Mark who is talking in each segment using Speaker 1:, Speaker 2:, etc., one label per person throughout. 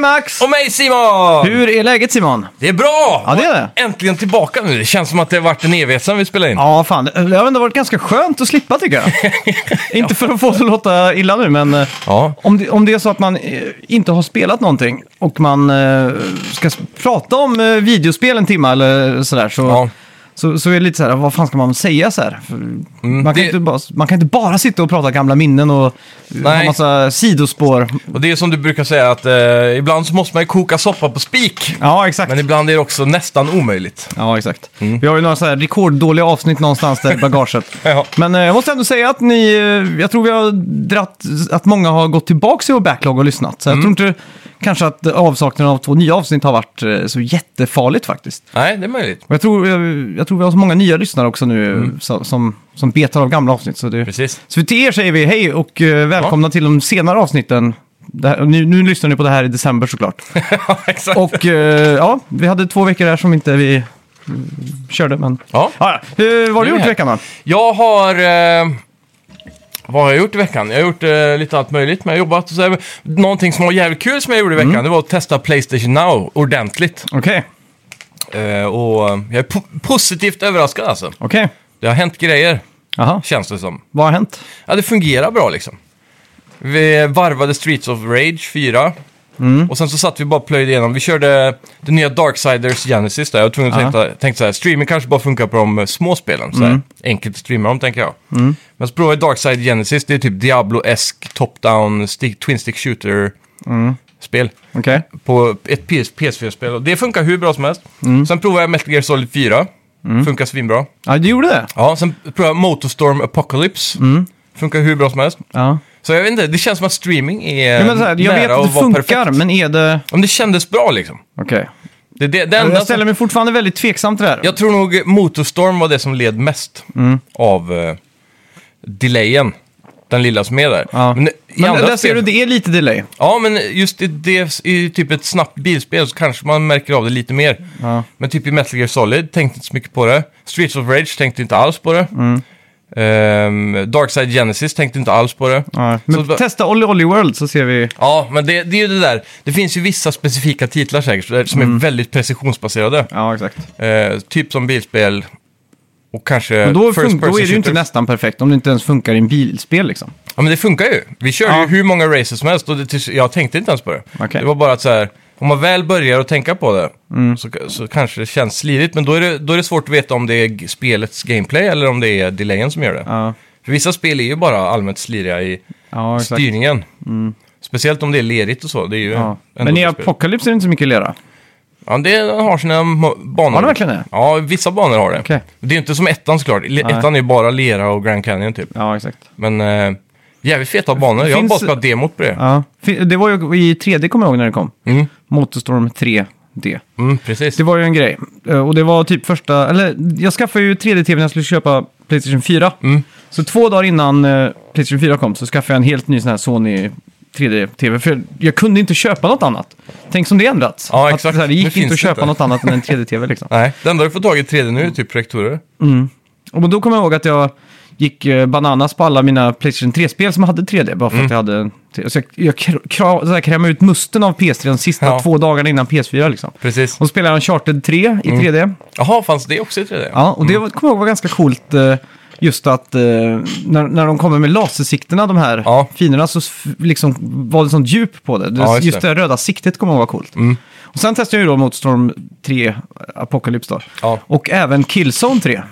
Speaker 1: Max!
Speaker 2: Och mig Simon!
Speaker 1: Hur är läget Simon?
Speaker 2: Det är bra!
Speaker 1: Ja, det är det.
Speaker 2: Äntligen tillbaka nu. Det känns som att det har varit en evighet sedan vi spelade in.
Speaker 1: Ja, fan. Det har ändå varit ganska skönt att slippa tycker jag. Inte för att få det att låta illa nu, men eh,
Speaker 2: Ja.
Speaker 1: om, det, om det är så att man eh, inte har spelat någonting och man eh, ska s- prata om eh, videospel en timme eller sådär så,
Speaker 2: Ja.
Speaker 1: så, så är det lite så här, vad fan ska man säga så här? För man, kan
Speaker 2: det-
Speaker 1: inte bara, man kan inte bara sitta och prata gamla minnen och ha
Speaker 2: Nej.
Speaker 1: massa sidospår.
Speaker 2: Och det är som du brukar säga att eh, ibland så måste man ju koka soppa på spik.
Speaker 1: Ja, exakt.
Speaker 2: Men ibland är det också nästan omöjligt.
Speaker 1: Ja, exakt. Vi har ju några så här rekorddåliga avsnitt någonstans där i bagaget.
Speaker 2: Ja.
Speaker 1: Men eh, jag måste ändå säga att ni, eh, jag tror vi har dratt, att många har gått tillbaka i vår backlog och lyssnat. Så jag tror inte kanske att avsaknaden av två nya avsnitt har varit eh, så jättefarligt faktiskt.
Speaker 2: Nej, det är möjligt.
Speaker 1: Och jag tror, eh, jag, jag tror vi har så många nya lyssnare också nu eh, så, som, som betar av gamla avsnitt. Så, det,
Speaker 2: Precis.
Speaker 1: så till er säger vi hej och eh, välkomna till de senare avsnitten. Det här, nu, nu lyssnar ni på det här i december såklart.
Speaker 2: ja, exakt.
Speaker 1: Och eh, ja, vi hade två veckor här som inte vi mm, körde, men...
Speaker 2: Ja.
Speaker 1: Ja, ja. Hur, vad har
Speaker 2: Nu
Speaker 1: du
Speaker 2: är vi
Speaker 1: gjort i
Speaker 2: här.
Speaker 1: veckan då?
Speaker 2: Jag har... Eh, vad har jag gjort i veckan? Jag har gjort eh, lite allt möjligt. Men jag har jobbat och så här, Någonting som var jävligt kul som jag gjorde i
Speaker 1: Mm.
Speaker 2: veckan, det var att testa Playstation Now ordentligt.
Speaker 1: Okej,
Speaker 2: Eh, och eh, jag är po- positivt överraskad alltså.
Speaker 1: okej.
Speaker 2: Det har hänt grejer,
Speaker 1: Jaha,
Speaker 2: känns det som.
Speaker 1: vad har hänt?
Speaker 2: Ja, det fungerar bra liksom. Vi varvade Streets of Rage 4. Och sen så satt vi bara och plöjde igenom. Vi körde det nya Darksiders Genesis där. Jag var tvungen att
Speaker 1: Ja.
Speaker 2: tänka, tänka så här, streaming kanske bara funkar på de eh, små spelen. Så här. Enkelt att streama dem tänker jag. Men så provade jag Darkside Genesis, det är typ Diablo-esk, top-down, stick, twin stick shooter-spel.
Speaker 1: Okej.
Speaker 2: På ett PS, PS4-spel. Och det funkar hur bra som helst.
Speaker 1: Mm.
Speaker 2: Sen provade jag Metal Gear Solid 4. Funkar svinbra.
Speaker 1: Ja, du gjorde det?
Speaker 2: Ja, sen provade jag Motorstorm Apocalypse.
Speaker 1: Mm.
Speaker 2: Funkar hur bra som helst.
Speaker 1: Ja.
Speaker 2: Så jag vet inte, det känns som att streaming är
Speaker 1: ja men så här, jag
Speaker 2: nära
Speaker 1: vet
Speaker 2: att
Speaker 1: att det
Speaker 2: vara
Speaker 1: funkar,
Speaker 2: perfekt.
Speaker 1: men är det...
Speaker 2: Om det kändes bra liksom.
Speaker 1: Okej.
Speaker 2: Det, det, det enda
Speaker 1: Jag ställer mig fortfarande väldigt tveksam till det här.
Speaker 2: som, jag tror nog Motorstorm var det som led mest
Speaker 1: Mm.
Speaker 2: av eh, delayen. Den lilla som är där.
Speaker 1: Ja.
Speaker 2: Men, i
Speaker 1: Men
Speaker 2: andra
Speaker 1: där ser
Speaker 2: spel,
Speaker 1: du, det är lite delay.
Speaker 2: Ja, men just i, det, i typ ett snabbt bilspel så kanske man märker av det lite mer.
Speaker 1: Ja.
Speaker 2: Men typ i Metal Gear Solid tänkte inte så mycket på det. Streets of Rage tänkte inte alls på det.
Speaker 1: Mm.
Speaker 2: Ehm, Darkside Genesis tänkte inte alls på det.
Speaker 1: Ja.
Speaker 2: Så
Speaker 1: Men
Speaker 2: det-
Speaker 1: testa Olly Olly World så ser vi...
Speaker 2: Ja, men det, det är ju det där. Det finns ju vissa specifika titlar säkert där- som är väldigt precisionsbaserade.
Speaker 1: Mm. Ja, exakt.
Speaker 2: Eh, typ som bilspel och kanske
Speaker 1: Men då,
Speaker 2: first
Speaker 1: fun- då är det ju inte
Speaker 2: shooter.
Speaker 1: nästan perfekt om det inte ens funkar i en bilspel liksom.
Speaker 2: Ja, men det funkar ju. Vi körde
Speaker 1: Ja.
Speaker 2: ju hur många races som helst och det, tills- jag tänkte inte ens på det.
Speaker 1: Okej. Mm.
Speaker 2: Det var bara att så här, om man väl börjar att tänka på det så, så kanske det känns slirigt. Men då är, det, då är det svårt att veta om det är g- spelets gameplay eller om det är delayen som gör det.
Speaker 1: Ja,
Speaker 2: För vissa spel är ju bara allmänt sliriga i
Speaker 1: ja exakt. Mm.
Speaker 2: styrningen. Speciellt om det är lerigt och så. Det är ju
Speaker 1: Ja.
Speaker 2: ändå
Speaker 1: Men i
Speaker 2: ett spel.
Speaker 1: Apocalypse är det inte så mycket lera.
Speaker 2: Ja, det den har sina mo- banor.
Speaker 1: Har det verkligen det?
Speaker 2: Ja, vissa banor har det.
Speaker 1: Okej.
Speaker 2: Det är ju inte som ettan såklart. Le-
Speaker 1: Nej.
Speaker 2: Ettan är ju bara lera och Grand Canyon typ.
Speaker 1: Ja, exakt.
Speaker 2: Men eh, jävligt feta banor. Jag har
Speaker 1: Finns-
Speaker 2: bara spelat demot på det.
Speaker 1: Ja. Fi- Det var ju i 3D kommer jag ihåg när det kom.
Speaker 2: Mm.
Speaker 1: Motorstorm 3D.
Speaker 2: Mm, precis.
Speaker 1: Det var ju en grej. Eh, Och det var typ första, eller jag skaffade ju 3D-tv när jag skulle köpa Playstation 4.
Speaker 2: Mm.
Speaker 1: Så två dagar innan eh, Playstation 4 kom så skaffade jag en helt ny sån här Sony 3D-tv. För jag kunde inte köpa något annat. Tänk som det ändrats.
Speaker 2: Ja,
Speaker 1: Att,
Speaker 2: exakt.
Speaker 1: så här, det
Speaker 2: Nu
Speaker 1: gick
Speaker 2: finns
Speaker 1: inte att
Speaker 2: det
Speaker 1: köpa
Speaker 2: inte.
Speaker 1: något annat än en 3D-tv liksom.
Speaker 2: Nej, det enda du får tag i 3D nu är typ projektorer.
Speaker 1: Och då kommer jag ihåg att jag gick eh, bananas på alla mina Playstation 3-spel som hade 3D. Bara
Speaker 2: Mm.
Speaker 1: för att jag hade... en t- Så jag jag kra- kra- så här, krämade ut musten av PS3 de sista
Speaker 2: Ja.
Speaker 1: två dagarna innan PS4 liksom.
Speaker 2: Precis. Mm.
Speaker 1: Och så spelade jag Uncharted 3 i 3D.
Speaker 2: Jaha, fanns det också i 3D?
Speaker 1: Ja, och det var, kommer jag ihåg var ganska coolt. eh, Just att eh, när, när de kommer med lasersikterna, de här
Speaker 2: Ja.
Speaker 1: finerna, så f- liksom var det sånt djup på det. Det-
Speaker 2: Ja,
Speaker 1: just,
Speaker 2: just
Speaker 1: det.
Speaker 2: det. Mm.
Speaker 1: röda siktet kommer jag ihåg var coolt. Och sen testade jag ju då Motorstorm 3, Apocalypse då.
Speaker 2: Ja. Mm.
Speaker 1: Och även Killzone 3.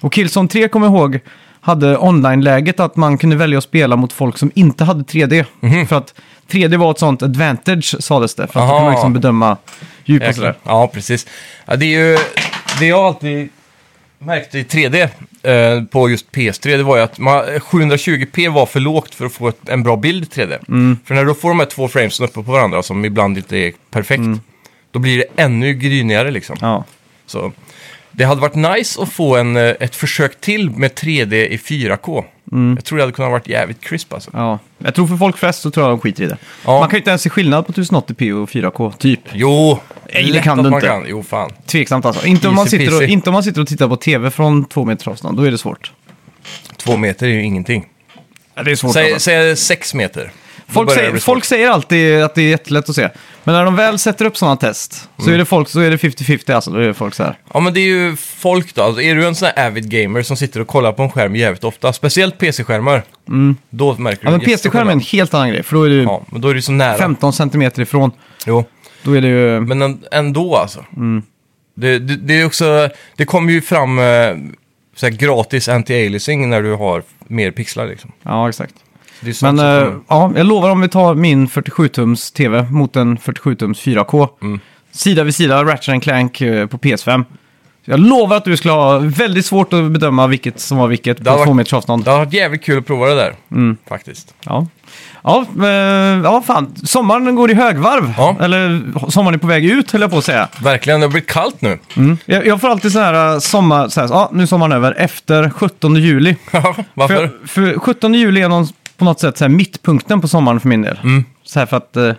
Speaker 1: Och Killzone 3 kommer jag ihåg hade online-läget att man kunde välja att spela mot folk som inte hade 3D. För att 3D var ett sånt advantage, sades det. För att då
Speaker 2: Mhm. Aha.
Speaker 1: kunde man liksom bedöma djup och sådär.
Speaker 2: Jäklar. Ja, precis. Ja, det är ju det jag alltid märkte i 3D eh, på just PS3, det var ju att man, 720p var för lågt för att få ett, en bra bild i 3D.
Speaker 1: Mm.
Speaker 2: För när du får de här två framesen uppe på varandra, som ibland inte är perfekt, då blir det ännu grynigare liksom.
Speaker 1: Mm. Ja.
Speaker 2: Så det hade varit nice att få en, eh, ett försök till med 3D i 4K.
Speaker 1: Mm.
Speaker 2: Jag tror det hade kunnat varit jävligt crisp alltså.
Speaker 1: Ja, jag tror för folk flest så tror jag de skiter i det.
Speaker 2: Ja.
Speaker 1: Man kan ju inte ens se skillnad på 1080p och 4K, typ.
Speaker 2: Jo,
Speaker 1: Nej, det
Speaker 2: lätt
Speaker 1: kan
Speaker 2: att
Speaker 1: du
Speaker 2: man
Speaker 1: inte.
Speaker 2: Kan. Jo, fan.
Speaker 1: Tveksamt alltså. Inte om,
Speaker 2: Easy
Speaker 1: man sitter och,
Speaker 2: peasy.
Speaker 1: inte om man sitter och tittar på tv från två meters avstånd, då är det svårt.
Speaker 2: Två meter är ju ingenting.
Speaker 1: Ja, det är svårt.
Speaker 2: Säg, säg sex meter.
Speaker 1: Folk,
Speaker 2: börjar det
Speaker 1: säger,
Speaker 2: bli
Speaker 1: folk säger alltid att det är jättelätt att se. Men när de väl sätter upp sådana test så är det folk, så är det 50-50 alltså. Då är det folk så här.
Speaker 2: Ja, men det är ju folk då. Alltså, är du en sån här avid gamer som sitter och kollar på en skärm jävligt ofta, speciellt PC-skärmar, då märker du
Speaker 1: Mm. Ja, men
Speaker 2: jättestor
Speaker 1: PC-skärmen är en
Speaker 2: skillnad.
Speaker 1: helt annan grej, för då är du
Speaker 2: Ja, men då är det så nära.
Speaker 1: 15 centimeter ifrån.
Speaker 2: Jo,
Speaker 1: Då är det ju...
Speaker 2: men en- ändå alltså.
Speaker 1: Mm.
Speaker 2: Det, det, det är också, det kommer ju fram eh, så här gratis anti-aliasing när du har mer pixlar liksom.
Speaker 1: Ja, exakt.
Speaker 2: Det är sånt
Speaker 1: Men
Speaker 2: som
Speaker 1: eh,
Speaker 2: Alltså, kommer-
Speaker 1: ja, jag lovar om vi tar min 47-tums TV mot en 47-tums 4K.
Speaker 2: Mm.
Speaker 1: Sida vid sida, Ratchet and Clank eh, på PS5. Jag lovar att du skulle ha väldigt svårt att bedöma vilket som var vilket
Speaker 2: Det har
Speaker 1: på två
Speaker 2: varit-
Speaker 1: meters avstånd.
Speaker 2: det har varit jävligt kul att prova det där,
Speaker 1: Mm.
Speaker 2: faktiskt.
Speaker 1: Ja. Ja, eh, ja, fan. Sommaren går i högvarv.
Speaker 2: Ja.
Speaker 1: Eller sommaren är på väg ut, höll jag på att säga.
Speaker 2: Verkligen, det har blivit kallt nu.
Speaker 1: Jag, jag får alltid så här eh, sommar... Så här, ja, nu är sommaren över. Efter 17 juli.
Speaker 2: Varför?
Speaker 1: För, för 17 juli är någon, på något sätt så här mittpunkten på sommaren för min del.
Speaker 2: Mm.
Speaker 1: Så här för att eh,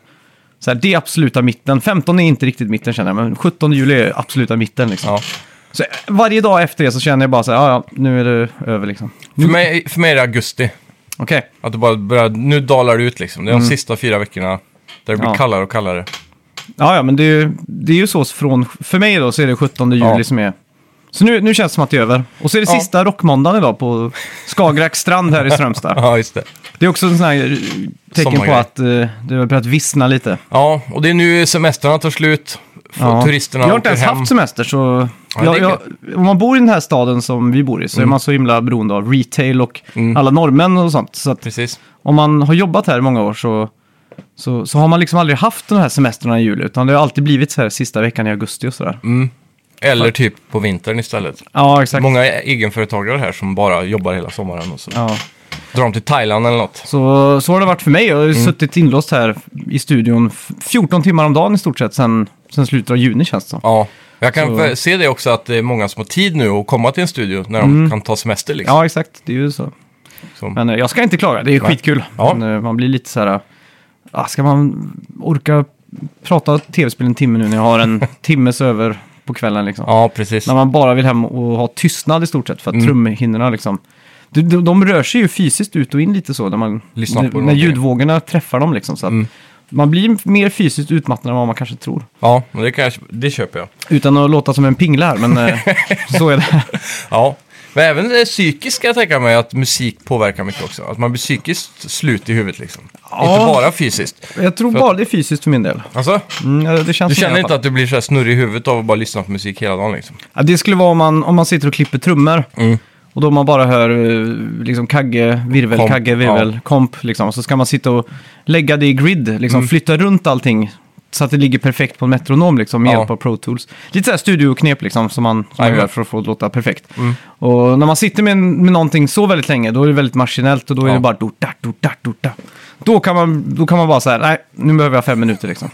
Speaker 1: så här, det är absoluta mitten. 15 är inte riktigt mitten känner jag, men 17 juli är absoluta mitten. Liksom.
Speaker 2: Ja.
Speaker 1: Så varje dag efter det så känner jag bara så här, ja, ja nu är det över liksom.
Speaker 2: För, mig, för mig är det augusti.
Speaker 1: Okej,
Speaker 2: Att du bara börjar, nu dalar det ut liksom. Det är de sista fyra veckorna där det blir
Speaker 1: Mm. Ja.
Speaker 2: kallare och kallare.
Speaker 1: ja, ja, men det är, ju, det är ju så från, för mig då så är det 17 juli
Speaker 2: Ja.
Speaker 1: som är... Så nu, nu känns det som att det är över. Och så är det
Speaker 2: Ja.
Speaker 1: sista rockmåndagen idag på Skagerrak strand här i Strömstad.
Speaker 2: Ja, just det.
Speaker 1: Det är också en sån här eh, tecken på
Speaker 2: Sommargrej.
Speaker 1: att eh, det har börjat vissna lite.
Speaker 2: Ja, och det är nu semestrarna tar slut. Få
Speaker 1: Ja.
Speaker 2: Turisterna
Speaker 1: Jag har
Speaker 2: åker
Speaker 1: inte ens
Speaker 2: hem.
Speaker 1: haft semester så...
Speaker 2: Ja,
Speaker 1: jag,
Speaker 2: det är Mm.
Speaker 1: jag, om man bor i den här staden som vi bor i så är man så himla beroende av retail och alla norrmän och sånt. Så att
Speaker 2: Precis.
Speaker 1: om man har jobbat här i många år så, så, så har man liksom aldrig haft de här semestrarna i juli. Utan det har alltid blivit så här sista veckan i augusti och sådär.
Speaker 2: Eller typ på vintern istället.
Speaker 1: Ja, exakt.
Speaker 2: Mm. Många e- egenföretagare här som bara jobbar hela sommaren och så
Speaker 1: Ja.
Speaker 2: drar de till Thailand eller något.
Speaker 1: Så, så har det varit för mig. Jag har ju
Speaker 2: Mm.
Speaker 1: suttit inlåst här i studion f- 14 timmar om dagen i stort sett sen, sen slutet av juni känns det som.
Speaker 2: Ja, jag kan
Speaker 1: Så-
Speaker 2: för- se det också att det är många som har tid nu att komma till en studio när de kan ta semester liksom.
Speaker 1: Mm. Ja, exakt. Det är ju så.
Speaker 2: Så-
Speaker 1: Men eh, jag ska inte klaga, det är skitkul.
Speaker 2: Ja.
Speaker 1: Men, eh, man blir lite så här, ah, ska man orka prata tv-spel en timme nu när jag har en timmes över på kvällen liksom?
Speaker 2: ja Mm. precis.
Speaker 1: När man bara vill hem och ha tystnad i stort sett för att trumhinnorna liksom, de, de, de rör sig ju fysiskt ut och in lite så när, man,
Speaker 2: Lyssnar på
Speaker 1: när, när
Speaker 2: någonting. Mm.
Speaker 1: ljudvågorna träffar dem liksom. Så att Man blir mer fysiskt utmattad än vad man kanske tror.
Speaker 2: Ja, men det, kan jag, det köper jag.
Speaker 1: Utan att låta som en pingla här, men eh, så är det.
Speaker 2: Ja, men även det psykiskt kan jag tänka mig att musik påverkar mycket också. Att man blir psykiskt slut i huvudet liksom.
Speaker 1: Ja.
Speaker 2: Inte bara fysiskt.
Speaker 1: Jag tror bara det är fysiskt för min del.
Speaker 2: Alltså,
Speaker 1: Mm, eh, det känns
Speaker 2: du
Speaker 1: som det i alla
Speaker 2: känner
Speaker 1: fall.
Speaker 2: inte att du blir så här snurrig i huvudet av att bara lyssna på musik hela dagen liksom?
Speaker 1: Ja, det skulle vara om man, om man sitter och klipper trummor.
Speaker 2: Mm.
Speaker 1: Och då man bara hör eh, liksom kagge, virvel,
Speaker 2: Komp,
Speaker 1: kagge, virvel, komp. Liksom. Och så ska man sitta och lägga det i grid, liksom,
Speaker 2: Mm.
Speaker 1: flytta runt allting. Så att det ligger perfekt på en metronom liksom, med
Speaker 2: Ja.
Speaker 1: hjälp av Pro Tools. Lite sådär studioknep liksom, som man, som man
Speaker 2: Jajamän. Mm.
Speaker 1: gör för att få det att låta perfekt. Och när man sitter med, med någonting så väldigt länge, då är det väldigt maskinellt och då är
Speaker 2: Ja.
Speaker 1: det bara dort, dart, dort, dart, dort, dart. Då kan, man, då kan man bara säga, nej, nu behöver jag fem minuter liksom.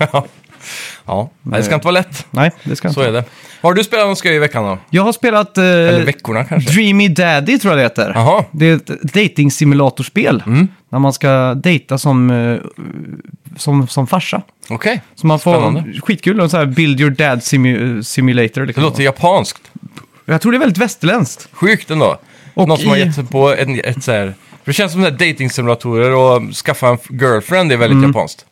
Speaker 2: Ja, Nej, det ska inte vara lätt.
Speaker 1: nej, det ska jag
Speaker 2: Så
Speaker 1: inte.
Speaker 2: är det. Har du spelat något skoj i veckan då?
Speaker 1: Jag har spelat... eh,
Speaker 2: Eller veckorna kanske?
Speaker 1: Dreamy Daddy tror jag det heter.
Speaker 2: Jaha.
Speaker 1: Det är ett datingsimulatorspel.
Speaker 2: Mm.
Speaker 1: När man ska dejta som, eh, som, som farsa.
Speaker 2: Okej,
Speaker 1: Så man får
Speaker 2: Spännande.
Speaker 1: skitkul. En sån här Build your dad simu- simulator.
Speaker 2: det
Speaker 1: Liksom.
Speaker 2: låter japanskt.
Speaker 1: Jag tror det är väldigt västerländskt.
Speaker 2: Sjukt ändå.
Speaker 1: Och
Speaker 2: Någon som har
Speaker 1: i-
Speaker 2: gett sig på en, ett så här... För det känns som att datingsimulatorer och skaffa en f- girlfriend är
Speaker 1: Mm.
Speaker 2: väldigt japanskt.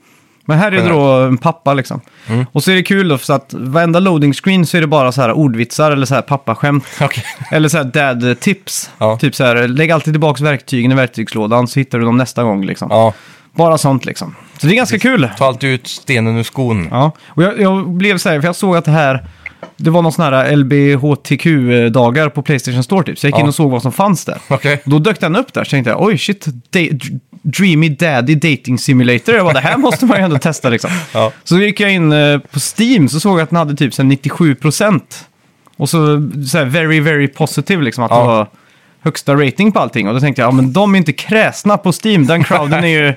Speaker 1: Men här är det då en pappa liksom.
Speaker 2: Mm.
Speaker 1: Och så är det kul då, så att varenda loading screen så är det bara så här ordvitsar eller så här pappaskämt.
Speaker 2: Okej.
Speaker 1: Eller så här dad tips.
Speaker 2: Ja.
Speaker 1: Typ så här, lägg alltid tillbaka verktygen i verktygslådan så hittar du dem nästa gång liksom.
Speaker 2: Ja,
Speaker 1: Bara sånt liksom. Så det är ganska kul.
Speaker 2: ta alltid ut stenen ur skon.
Speaker 1: Ja, och jag, jag blev så här, för jag såg att det här, det var någon sån här LBHTQ-dagar på Playstation Store typ, så jag gick
Speaker 2: Ja.
Speaker 1: in och såg vad som fanns där.
Speaker 2: Okej.
Speaker 1: Och Då dök den upp där, så tänkte jag, oj shit, da- Dreamy Daddy Dating Simulator, jag bara, det här måste man ju ändå testa liksom.
Speaker 2: Ja.
Speaker 1: Så gick jag in eh, på Steam, så såg jag att den hade typ så här 97%. Och så, så här, very, very positive liksom, att
Speaker 2: Ja.
Speaker 1: det var högsta rating på allting. Och då tänkte jag, ja men de är inte kräsna på Steam, den crowden är ju,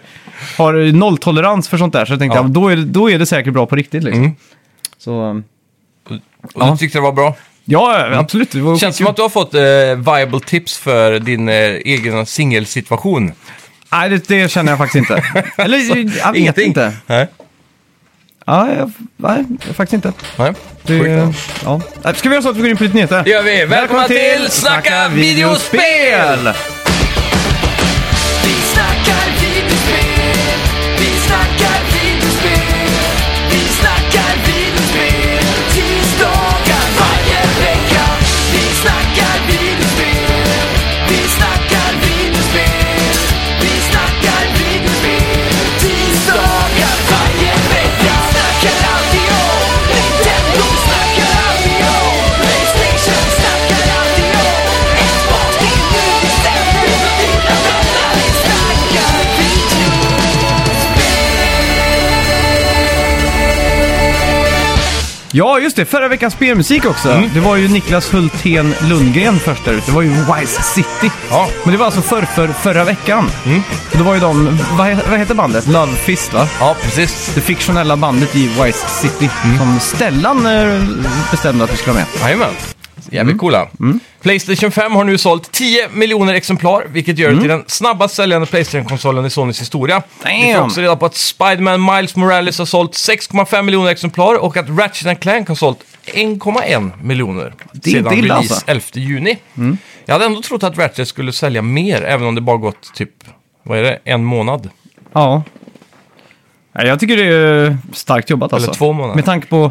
Speaker 1: har nolltolerans för sånt där. Så jag tänkte,
Speaker 2: Ja. Mm.
Speaker 1: ja. men då, är det, då är det säkert bra på riktigt liksom. Så, um,
Speaker 2: Och
Speaker 1: Ja.
Speaker 2: du tyckte det var bra?
Speaker 1: ja absolut. Det var
Speaker 2: Känns som att du har fått eh, viable tips för din eh, egen singelsituation.
Speaker 1: Nej, det, det känner jag faktiskt inte. Eller, eh, jag vet
Speaker 2: Ingenting.
Speaker 1: inte.
Speaker 2: Nej.
Speaker 1: Ja, jag, nej, faktiskt inte.
Speaker 2: Nej.
Speaker 1: Det,
Speaker 2: Sjukt, ja.
Speaker 1: ja. Nej, Ska vi göra så att vi går in på lite nyheter?
Speaker 2: Det gör vi. Välkomna, till Snacka videospel!
Speaker 3: Vi snackar videospel, vi
Speaker 1: Ja, just det. Förra veckans spelmusik också.
Speaker 2: Mm.
Speaker 1: Det var ju Niklas Hultén Lundgren först där ute. Det var ju Wise City.
Speaker 2: Ja. Mm.
Speaker 1: Men det var alltså för, för, förra veckan. Och det var ju de, vad, he- vad heter bandet? Love Fist va?
Speaker 2: Ja, precis.
Speaker 1: Det fiktionella bandet i Wise City.
Speaker 2: Mm.
Speaker 1: Som Stellan eh, bestämde att vi skulle ha med.
Speaker 2: Jajamän. Jävligt
Speaker 1: Mm.
Speaker 2: coola. Playstation 5 har nu sålt 10 miljoner exemplar, vilket
Speaker 1: Mm.
Speaker 2: gör det till den snabbast säljande Playstation-konsolen i Sonys historia. Vi får
Speaker 1: Damn.
Speaker 2: också reda på att Spiderman Miles Morales har sålt 6,5 miljoner exemplar och att Ratchet Clank har sålt 1,1 miljoner
Speaker 1: är
Speaker 2: sedan
Speaker 1: inte illa,
Speaker 2: release
Speaker 1: alltså. Mm.
Speaker 2: 11 juni. Jag hade ändå trott att Ratchet skulle sälja mer, även om det bara gått typ, vad är det, en månad?
Speaker 1: Ja. Ja, Jag tycker det är starkt jobbat alltså.
Speaker 2: två månader.
Speaker 1: Med tanke på...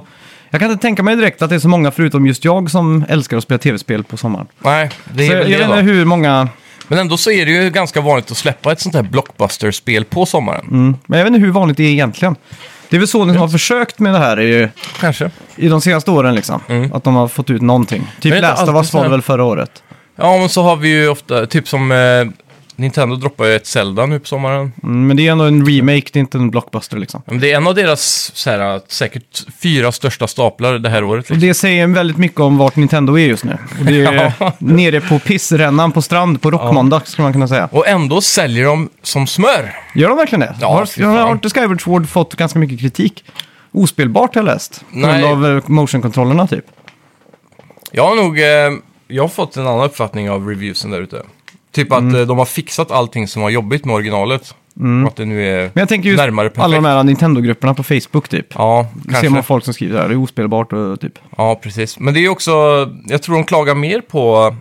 Speaker 1: Jag kan inte tänka mig direkt att det är så många förutom just jag som älskar att spela tv-spel på sommaren.
Speaker 2: Nej, det är
Speaker 1: Så jag
Speaker 2: väl
Speaker 1: vet
Speaker 2: det då.
Speaker 1: inte hur många...
Speaker 2: Men ändå så är det ju ganska vanligt att släppa ett sånt här blockbuster-spel på sommaren.
Speaker 1: Men jag vet inte hur vanligt det är egentligen. Det är väl Sony som har försökt med det här i,
Speaker 2: Kanske.
Speaker 1: i de senaste åren liksom.
Speaker 2: Mm.
Speaker 1: Att de har fått ut någonting.
Speaker 2: det
Speaker 1: Typ
Speaker 2: är
Speaker 1: Last
Speaker 2: alltid
Speaker 1: of Us
Speaker 2: så
Speaker 1: var
Speaker 2: här-
Speaker 1: det väl förra året.
Speaker 2: Ja, men så har vi ju ofta, typ som eh, Nintendo droppar ju ett Zelda nu på sommaren.
Speaker 1: Mm, men det är ändå en remake, det är inte en blockbuster liksom.
Speaker 2: Men det är en av deras så här, säkert fyra största staplar det här året.
Speaker 1: Och
Speaker 2: Liksom.
Speaker 1: det säger väldigt mycket om vart Nintendo är just nu. Och det är
Speaker 2: Ja.
Speaker 1: nere på pissrännan på strand på Rockmåndag skulle man kunna säga.
Speaker 2: Och ändå säljer de som smör.
Speaker 1: Gör de verkligen det?
Speaker 2: Ja, fy
Speaker 1: har,
Speaker 2: fan.
Speaker 1: har inte Skyward Sword fått ganska mycket kritik? Ospelbart har jag läst. På grund
Speaker 2: Nej.
Speaker 1: av eh, motion-kontrollerna typ.
Speaker 2: Jag har nog eh, jag har fått en annan uppfattning av reviewsen där ute. Typ att
Speaker 1: Mm.
Speaker 2: eh, de har fixat allting som var jobbigt med originalet. Och att det nu är
Speaker 1: Men jag tänker just
Speaker 2: närmare perfekt.
Speaker 1: alla de här Nintendo-grupperna på Facebook typ.
Speaker 2: Ja,
Speaker 1: Då ser
Speaker 2: kanske.
Speaker 1: man folk som skriver där, det är ospelbart och typ.
Speaker 2: Ja, precis. Men det är ju också, jag tror de klagar mer på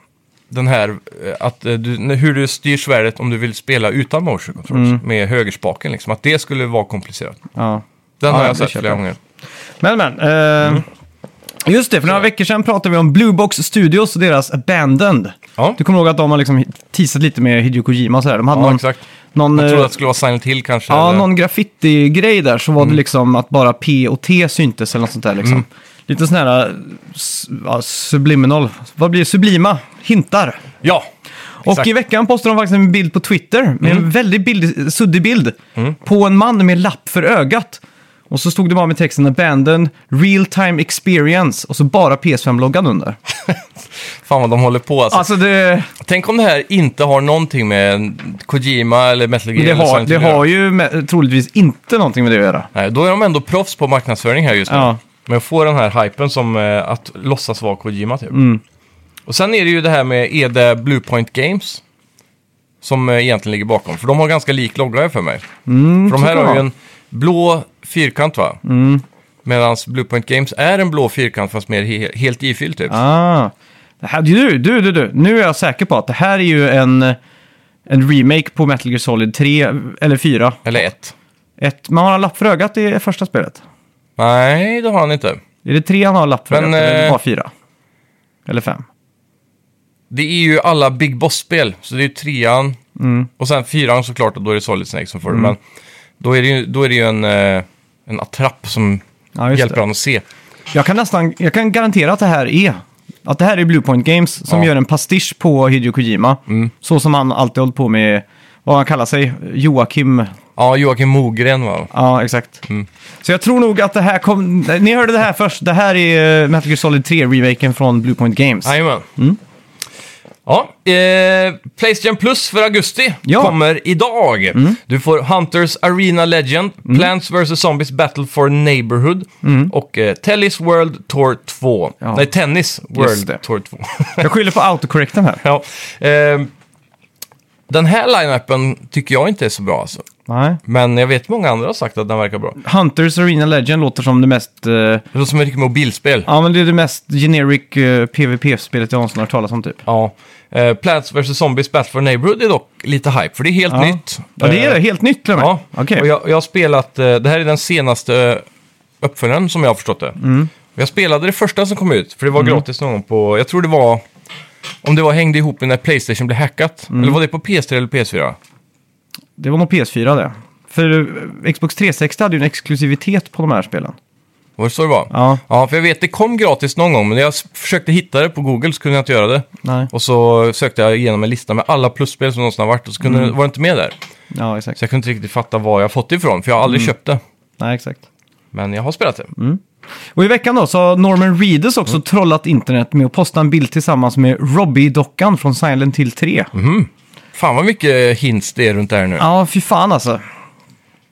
Speaker 2: den här, eh, att eh, du, hur du styr svärdet om du vill spela utan motion controls,
Speaker 1: Mm.
Speaker 2: med högerspaken liksom. Att det skulle vara komplicerat.
Speaker 1: Ja.
Speaker 2: Den
Speaker 1: Ja,
Speaker 2: har
Speaker 1: ja,
Speaker 2: jag
Speaker 1: det
Speaker 2: sett
Speaker 1: köper
Speaker 2: flera
Speaker 1: jag.
Speaker 2: gånger.
Speaker 1: Men men, eh,
Speaker 2: Mm.
Speaker 1: just det, för några veckor sedan pratade vi om Blue Box Studios och deras Abandoned.
Speaker 2: Ja.
Speaker 1: Du kommer ihåg att de har liksom teasat lite med Hideo Kojima och sådär. De hade
Speaker 2: Ja,
Speaker 1: någon,
Speaker 2: exakt.
Speaker 1: någon,
Speaker 2: Jag trodde
Speaker 1: eh,
Speaker 2: att det skulle vara Silent Hill kanske.
Speaker 1: ja,
Speaker 2: eller- Mm.
Speaker 1: någon graffiti-grej där så var det liksom att bara P och T syntes eller något sånt där liksom. Lite sån här eh, s- ja, subliminal, vad blir det? Sublima hintar.
Speaker 2: ja.
Speaker 1: Och
Speaker 2: Exakt. Mm.
Speaker 1: i veckan postade de faktiskt en bild på Twitter med en väldigt bild, suddig bild på en man med lapp för ögat. Och så stod det bara med texten Abandon, Real Time Experience och så bara PS5-loggan under.
Speaker 2: Fan vad de håller på alltså.
Speaker 1: Alltså det,
Speaker 2: Tänk om det här inte har någonting med en Kojima eller Metal Gear
Speaker 1: det,
Speaker 2: eller
Speaker 1: har,
Speaker 2: Silent
Speaker 1: det
Speaker 2: Hill att göra.
Speaker 1: har ju med, troligtvis inte någonting med det att göra.
Speaker 2: Nej, då är de ändå proffs på marknadsföring här just nu.
Speaker 1: Ja.
Speaker 2: Men får den här hypen som eh, att låtsas vara Kojima typ.
Speaker 1: Mm.
Speaker 2: Och sen är det ju det här med är det Bluepoint Games som eh, egentligen ligger bakom. För de har ganska lik logga här för mig. för de här
Speaker 1: tror Mm, jag.
Speaker 2: har ju en blå fyrkant va? Mm. Medan Bluepoint Games är en blå fyrkant fast mer he helt ifylld typ.
Speaker 1: Ah. Det här, du, du, du, du, nu är jag säker på att det här är ju en, en remake på Metal Gear Solid 3 eller 4.
Speaker 2: Eller ett.
Speaker 1: Ett, man har en lapp för ögat i första spelet.
Speaker 2: Nej, det har han inte.
Speaker 1: Är det tre han har lapp för
Speaker 2: Men,
Speaker 1: ögat? Eller
Speaker 2: eh,
Speaker 1: bara fyra? Eller fem?
Speaker 2: Det är ju alla Big Boss-spel, så det är ju trean
Speaker 1: Mm.
Speaker 2: och sen fyran såklart och då är det Solid Snake som får det. Men då är det ju, då är det ju en, eh, en attrapp som
Speaker 1: Ja, just
Speaker 2: hjälper
Speaker 1: det.
Speaker 2: honom att se.
Speaker 1: Jag kan nästan, jag kan garantera att det här är, att det här är Bluepoint Games som
Speaker 2: Ja. Mm.
Speaker 1: gör en pastisch på Hideo Kojima. Så som han alltid hållit på med, vad han kallar sig, Joakim.
Speaker 2: Ja, Joakim Mogren va?
Speaker 1: Ja, exakt.
Speaker 2: Mm.
Speaker 1: Så jag tror nog att det här kom, ni hörde det här först, det här är eh, Metal Gear Solid 3-remaken från Bluepoint Games.
Speaker 2: Jajamän.
Speaker 1: Mm.
Speaker 2: Ja, eh, Playstation Plus för augusti
Speaker 1: Ja. Mm.
Speaker 2: kommer idag. Du får Hunters Arena Legend, Plants vs. Zombies Battle for Neighborhood och eh, Tennis World Tour 2.
Speaker 1: Mm. Ja.
Speaker 2: Nej, Tennis
Speaker 1: det.
Speaker 2: World Tour 2.
Speaker 1: Jag skyller på autocorrecten här.
Speaker 2: Ja. ehm, den här line-upen tycker jag inte är så bra alltså.
Speaker 1: Nej.
Speaker 2: Men jag vet många andra har sagt att den verkar bra.
Speaker 1: Hunters Arena Legend låter som det mest, eh,
Speaker 2: Det låter som ett riktigt mobilspel. Ja.
Speaker 1: ja men det är det mest generic eh, PVP-spelet jag någonsin har hört talas om typ.
Speaker 2: Eh, Plants vs. Zombies Battle for Neighborhood är dock lite hype, för det är helt
Speaker 1: Ja.
Speaker 2: nytt.
Speaker 1: Ja, det är
Speaker 2: Eh,
Speaker 1: helt nytt till och med.
Speaker 2: Ja,
Speaker 1: Okej.
Speaker 2: och jag, jag har spelat, eh, det här är den senaste eh, uppföljaren som jag har förstått det.
Speaker 1: Mm.
Speaker 2: Och Jag spelade det första som kom ut, för det var gratis någon gång på, jag tror det var, om det var hängde ihop med när Playstation blev hackat.
Speaker 1: Mm.
Speaker 2: Eller var det på PS3 eller PS4?
Speaker 1: Det var nog PS4 det. För eh, Xbox 360 hade ju en exklusivitet på de här spelen.
Speaker 2: Var det så det var?
Speaker 1: Ja.
Speaker 2: Ja, för jag vet, det kom gratis någon gång, men när jag s- försökte hitta det på Google så kunde jag inte göra det.
Speaker 1: Nej.
Speaker 2: Och så sökte jag igenom en lista med alla plusspel som någonsin har varit och så kunde,
Speaker 1: Mm.
Speaker 2: var det inte med där.
Speaker 1: Ja,
Speaker 2: Så
Speaker 1: exakt. Mm.
Speaker 2: jag kunde inte riktigt fatta var jag fått det ifrån, för jag har aldrig köpt det.
Speaker 1: Nej, exakt.
Speaker 2: Men jag har spelat det.
Speaker 1: Mm. Och i veckan då så har Norman Reedus
Speaker 2: Mm.
Speaker 1: också trollat internet med att posta en bild tillsammans med Robbie-dockan från Silent Hill 3.
Speaker 2: Fan vad mycket hints det är runt det här nu. Ja.
Speaker 1: Ja, fy fan alltså.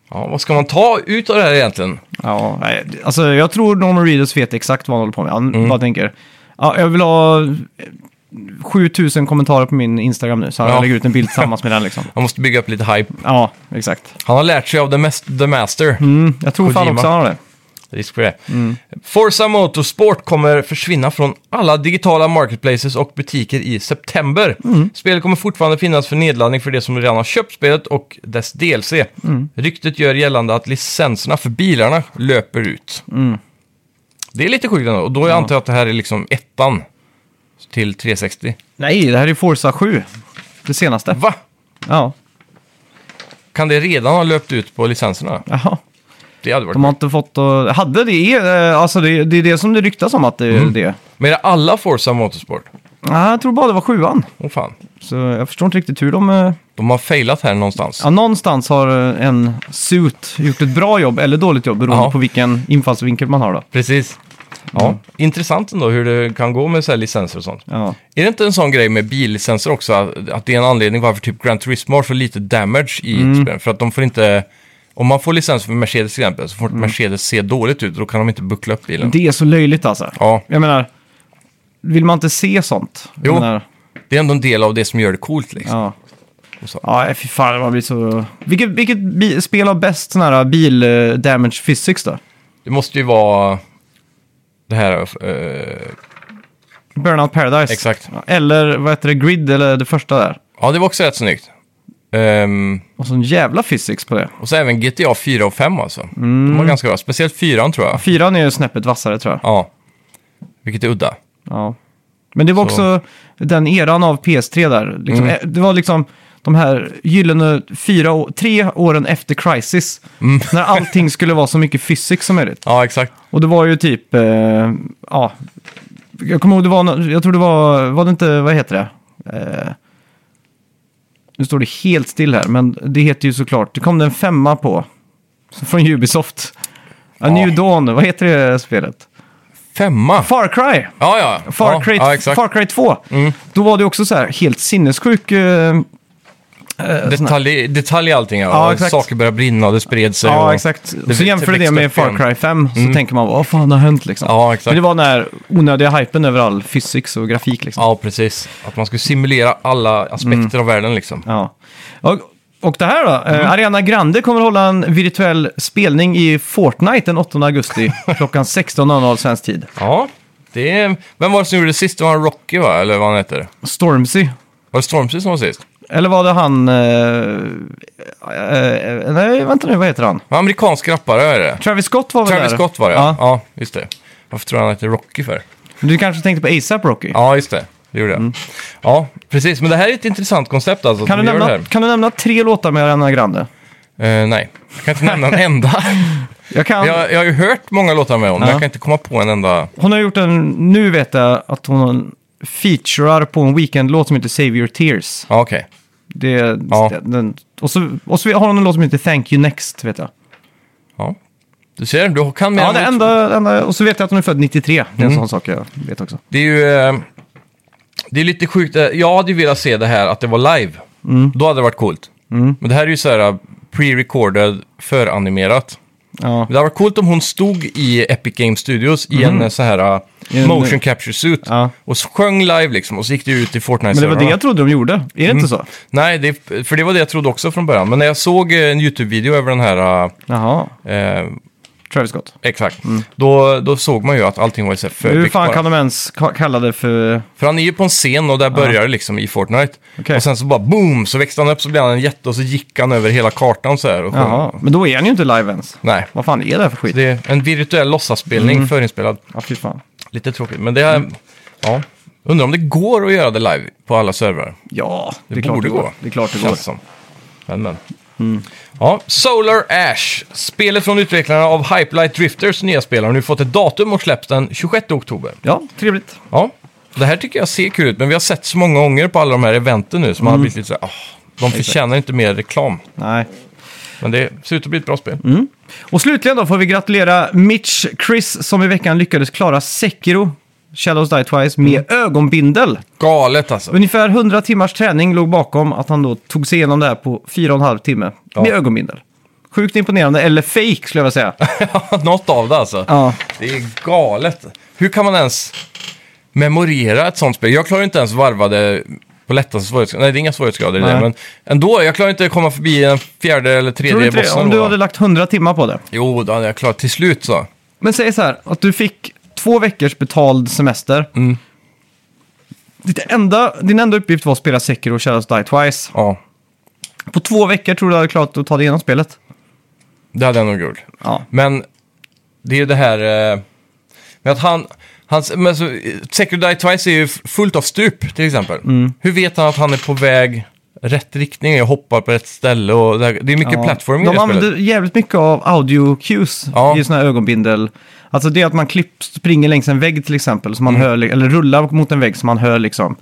Speaker 2: vad ska man ta ut av det här egentligen?
Speaker 1: Ja, nej, alltså jag tror Norman Reedus vet exakt vad han håller på med. Han
Speaker 2: Mm.
Speaker 1: bara tänker, ja, jag vill ha eh, 7000 kommentarer på min Instagram nu, så han
Speaker 2: Ja.
Speaker 1: lägger ut en bild tillsammans med den liksom.
Speaker 2: Man måste bygga upp lite hype.
Speaker 1: Ja, exakt.
Speaker 2: Han har lärt sig av The, mas- the Master.
Speaker 1: Mm, jag tror fan
Speaker 2: Kojima.
Speaker 1: också han har det.
Speaker 2: Risk för det.
Speaker 1: Mm.
Speaker 2: Forza Motorsport kommer försvinna från alla digitala marketplaces och butiker i september.
Speaker 1: Mm.
Speaker 2: Spelet kommer fortfarande finnas för nedladdning för de som redan har köpt spelet och dess DLC.
Speaker 1: Mm.
Speaker 2: Ryktet gör gällande att licenserna för bilarna löper ut.
Speaker 1: Mm.
Speaker 2: Det är lite sjukt ändå, och då antar jag att det här är liksom ettan till 360.
Speaker 1: Nej, det här är Forza 7. Det senaste.
Speaker 2: Va?
Speaker 1: Ja,
Speaker 2: Kan det redan ha löpt ut på licenserna?
Speaker 1: jaha.
Speaker 2: Det hade varit
Speaker 1: De har inte fått att... Hade det... eh, Alltså det, det är det som det ryktas om att det är
Speaker 2: Mm.
Speaker 1: det.
Speaker 2: Men är det alla Forza Motorsport?
Speaker 1: Nej, jag tror bara det var sjuan.
Speaker 2: Åh fan.
Speaker 1: Så jag förstår inte riktigt hur de... eh,
Speaker 2: De har failat här någonstans.
Speaker 1: Ja, någonstans har eh, en suit gjort ett bra jobb eller dåligt jobb beroende
Speaker 2: Ja.
Speaker 1: på vilken infallsvinkel man har då.
Speaker 2: Precis. Ja, intressant ändå hur det kan gå med så här licenser och sånt.
Speaker 1: Ja.
Speaker 2: Är det inte en sån grej med billicenser också, att- att det är en anledning varför typ Gran Turismo har så lite damage i ett spel? För att de får inte, om man får licens för Mercedes till exempel, så får Mercedes se dåligt ut, då kan de inte buckla upp bilen.
Speaker 1: Det är så löjligt alltså.
Speaker 2: Ja,
Speaker 1: Jag menar, vill man inte se sånt? Jag
Speaker 2: Jo.
Speaker 1: Menar,
Speaker 2: det är ändå en del av det som gör det coolt liksom.
Speaker 1: ja.
Speaker 2: Och så.
Speaker 1: Ja, fy fan, man blir så... Vilket, vilket bi- spel har bäst sån här bil eh, damage physics då?
Speaker 2: Det måste ju vara det här, eh,
Speaker 1: Burnout Paradise.
Speaker 2: Exakt.
Speaker 1: Ja, Eller vad heter det, Grid eller det första där.
Speaker 2: ja det var också rätt snyggt. Ehm,
Speaker 1: Och sån jävla physics på det.
Speaker 2: och så även GTA 4 och 5 alltså. De var ganska bra, speciellt 4 tror jag.
Speaker 1: Fyran är ju snäppet vassare tror jag.
Speaker 2: Ja, vilket är udda.
Speaker 1: Ja. Men det var
Speaker 2: Så.
Speaker 1: också den eran av PS3 där. Liksom, eh, Det var liksom de här gyllene fyra, å- tre åren efter Crisis. När allting skulle vara så mycket physics som möjligt.
Speaker 2: Ja, exakt.
Speaker 1: Och det var ju typ, eh, ja, jag kommer ihåg det var, nå- jag tror det var, var det inte, vad heter det? Eh, nu står det helt still här, men det heter ju såklart, det kom det en femma på. Från Ubisoft. A New Dawn, vad heter det spelet?
Speaker 2: Femma?
Speaker 1: Far Cry!
Speaker 2: Ja, ja.
Speaker 1: Far,
Speaker 2: ja,
Speaker 1: Cry,
Speaker 2: ja, exakt. Mm.
Speaker 1: Far Cry 2. Då var det också så här helt sinnessjuk... eh,
Speaker 2: detalj, detalj i allting. Ja.
Speaker 1: Ja, exakt.
Speaker 2: Saker började brinna och det spred sig.
Speaker 1: ja,
Speaker 2: och
Speaker 1: exakt.
Speaker 2: växte-
Speaker 1: så jämför du det med
Speaker 2: växte upp
Speaker 1: Far
Speaker 2: igen.
Speaker 1: Cry 5 så tänker man vad fan har hänt liksom.
Speaker 2: Ja, exakt.
Speaker 1: Men det var den här onödiga hypen över all physics och grafik liksom.
Speaker 2: Ja, precis. Att man skulle simulera alla
Speaker 1: Mm.
Speaker 2: aspekter av världen liksom.
Speaker 1: Ja. Och, och det här då? Eh,
Speaker 2: Mm.
Speaker 1: Ariana Grande kommer hålla en virtuell spelning i Fortnite den 8 augusti klockan 16.00 svensk tid.
Speaker 2: Ja, det är... Vem var det som gjorde det sist? Det var han Rocky, va? Eller vad han heter.
Speaker 1: Stormzy.
Speaker 2: Var det Stormzy som var sist?
Speaker 1: Eller var det han... eh, eh, nej, vänta nu, vad heter han?
Speaker 2: Men amerikansk rappare är det.
Speaker 1: Travis Scott var väl
Speaker 2: Travis
Speaker 1: där?
Speaker 2: Scott var det,
Speaker 1: Ja.
Speaker 2: ja. ja. just det. Varför tror jag han heter Rocky för?
Speaker 1: Men Du kanske tänkte på ASAP Rocky?
Speaker 2: Ja, just det. Det gjorde jag. Ja, precis. Men det här är ett intressant koncept alltså. att
Speaker 1: Mm. kan, du
Speaker 2: de gör
Speaker 1: nämna,
Speaker 2: det
Speaker 1: kan du nämna tre låtar med Ariana Grande?
Speaker 2: här. Eh, nej, jag kan inte nämna en enda.
Speaker 1: Jag kan,
Speaker 2: Jag, jag har ju hört många låtar med honom, men
Speaker 1: Ja.
Speaker 2: jag kan inte komma på en enda.
Speaker 1: Hon har gjort en, nu vet jag att hon featurear på en weekendlåt som heter Save Your Tears.
Speaker 2: Ja, okej.
Speaker 1: Det,
Speaker 2: Ja.
Speaker 1: den, och, så, och så har hon en låt som heter Thank You Next, vet jag.
Speaker 2: Ja. Du ser, du kan mer
Speaker 1: Ja,
Speaker 2: än
Speaker 1: det
Speaker 2: du tror.
Speaker 1: enda, enda, och så vet jag att hon är född 93. Det är en
Speaker 2: Mm.
Speaker 1: sån sak jag vet också.
Speaker 2: Det är ju... eh, Det är lite sjukt. Eh, Jag hade ju velat se det här, att det var live.
Speaker 1: Mm.
Speaker 2: Då hade det varit coolt. Men det här är ju så här eh, pre-recorded, föranimerat.
Speaker 1: Ja,
Speaker 2: Men det hade varit coolt om hon stod i Epic Games Studios i en eh, så här eh,
Speaker 1: Mm. I en-
Speaker 2: motion capture suit
Speaker 1: Ja.
Speaker 2: och sjöng live liksom och så gick det ut i
Speaker 1: men det var det
Speaker 2: Fortnite-servrarna.
Speaker 1: jag trodde de gjorde. Är det
Speaker 2: Mm.
Speaker 1: inte så?
Speaker 2: Nej, det, för det var det jag trodde också från början. Men när jag såg eh, en YouTube-video över den här
Speaker 1: Jaha,
Speaker 2: eh, eh,
Speaker 1: Travis Scott.
Speaker 2: Exakt. Då, då såg man ju att allting var ju så här
Speaker 1: Mm. Hur
Speaker 2: förbyggt
Speaker 1: fan
Speaker 2: bara.
Speaker 1: kan de ens ka- kalla det för...
Speaker 2: För han är ju på en scen och där börjar det liksom i Fortnite.
Speaker 1: Okej.
Speaker 2: Och sen så bara boom, så växte han upp så blev han en jätte och så gick han över hela kartan så här. Och
Speaker 1: Jaha, men då är han ju inte live ens.
Speaker 2: Nej.
Speaker 1: Vad fan är det här för skit?
Speaker 2: Det är en virtuell låtsasspelning
Speaker 1: Mm.
Speaker 2: förinspelad.
Speaker 1: Ja, fy fan.
Speaker 2: Lite tråkigt, men det är...
Speaker 1: Mm.
Speaker 2: Ja. Undrar om det går att göra det live på alla servrar.
Speaker 1: Ja, det, är
Speaker 2: Det
Speaker 1: klart
Speaker 2: borde
Speaker 1: det går.
Speaker 2: gå.
Speaker 1: Det är klart det går. Mm.
Speaker 2: Känns som. Men, men. Ja, Solar Ash. Spelet från utvecklarna av Hype Light Drifters nya spel har nu fått ett datum och släpps den 26 oktober.
Speaker 1: Ja, trevligt.
Speaker 2: Ja, det här tycker jag ser kul ut, men vi har sett så många gånger på alla de här eventen nu
Speaker 1: Mm.
Speaker 2: som har blivit lite så här, "Ah, de förtjänar inte mer reklam.
Speaker 1: Nej. Mm.
Speaker 2: Men det ser ut att bli ett bra spel.
Speaker 1: Och slutligen då får vi gratulera Mitch Chris som i veckan lyckades klara Sekiro, Shadows Die Twice, med ögonbindel.
Speaker 2: Galet alltså.
Speaker 1: Ungefär 100 timmars träning låg bakom att han då tog sig igenom det här på fyra och en halv timme
Speaker 2: Ja.
Speaker 1: med ögonbindel. Sjukt imponerande, eller fake skulle jag vilja säga.
Speaker 2: Något av det alltså.
Speaker 1: Ja.
Speaker 2: Det är galet. Hur kan man ens memorera ett sånt spel? Jag klarar inte ens varvade på lättaste svårighetsgrad. Nej, det är inga svårighetsgrader i det,
Speaker 1: Nej.
Speaker 2: men ändå. Jag klarar inte att komma förbi den fjärde eller
Speaker 1: Tror du
Speaker 2: tredje
Speaker 1: inte det?
Speaker 2: bossen.
Speaker 1: Om
Speaker 2: då,
Speaker 1: du
Speaker 2: va?
Speaker 1: hade lagt 100 timmar på det.
Speaker 2: Jo, då hade jag klarat till slut så.
Speaker 1: Men säg så här, att du fick två veckors betald semester.
Speaker 2: Mm.
Speaker 1: Ditt enda, din enda uppgift var att spela Sekiro och Shadows Die Twice.
Speaker 2: Ja,
Speaker 1: På två veckor tror du du hade klarat att ta dig igenom spelet.
Speaker 2: det hade jag nog gjort.
Speaker 1: Ja.
Speaker 2: Men det är ju det här eh, med att han... Hans, men så, eh, Secret Die Twice är ju f- fullt av stup till exempel.
Speaker 1: Mm.
Speaker 2: Hur vet han att han är på väg rätt riktning och hoppar på rätt ställe? Och det, här, det är mycket
Speaker 1: Ja.
Speaker 2: plattform i
Speaker 1: De
Speaker 2: det spelet.
Speaker 1: använder jävligt mycket av audio cues
Speaker 2: Ja.
Speaker 1: i sådana här ögonbindel. Alltså det är att man klipp, springer längs en vägg till exempel, som man
Speaker 2: Mm.
Speaker 1: hör, li- eller rullar mot en vägg som man hör liksom.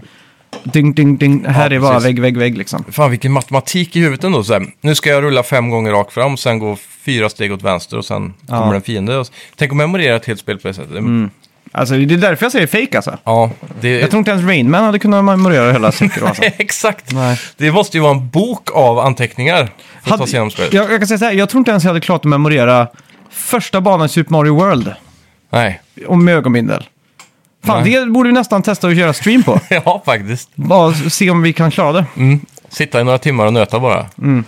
Speaker 1: Ding, ding, ding. Här är bara
Speaker 2: precis.
Speaker 1: vägg, vägg, vägg liksom.
Speaker 2: Fan vilken matematik i huvudet ändå. Så här, nu ska jag rulla fem gånger rakt fram, sen gå fyra steg åt vänster och sen
Speaker 1: Ja.
Speaker 2: kommer en fiende. Och, s- tänk att memorera ett helt spel på det sättet.
Speaker 1: Alltså det är därför jag säger fake alltså.
Speaker 2: Ja, det,
Speaker 1: Jag tror inte ens Rainman hade kunnat memorera hela Sekiro alltså.
Speaker 2: Exakt.
Speaker 1: Nej.
Speaker 2: Det måste ju vara en bok av anteckningar för att ta sig igenom spelet.
Speaker 1: jag, jag kan säga så här, jag tror inte ens jag hade klart att memorera första banan i Super Mario World.
Speaker 2: Nej.
Speaker 1: Om med ögonbindel. Fan,
Speaker 2: Nej.
Speaker 1: det borde vi nästan testa att göra stream på.
Speaker 2: Ja, faktiskt.
Speaker 1: Bara se om vi kan klara det.
Speaker 2: Mm. Sitta i några timmar och nöta bara.
Speaker 1: Mm.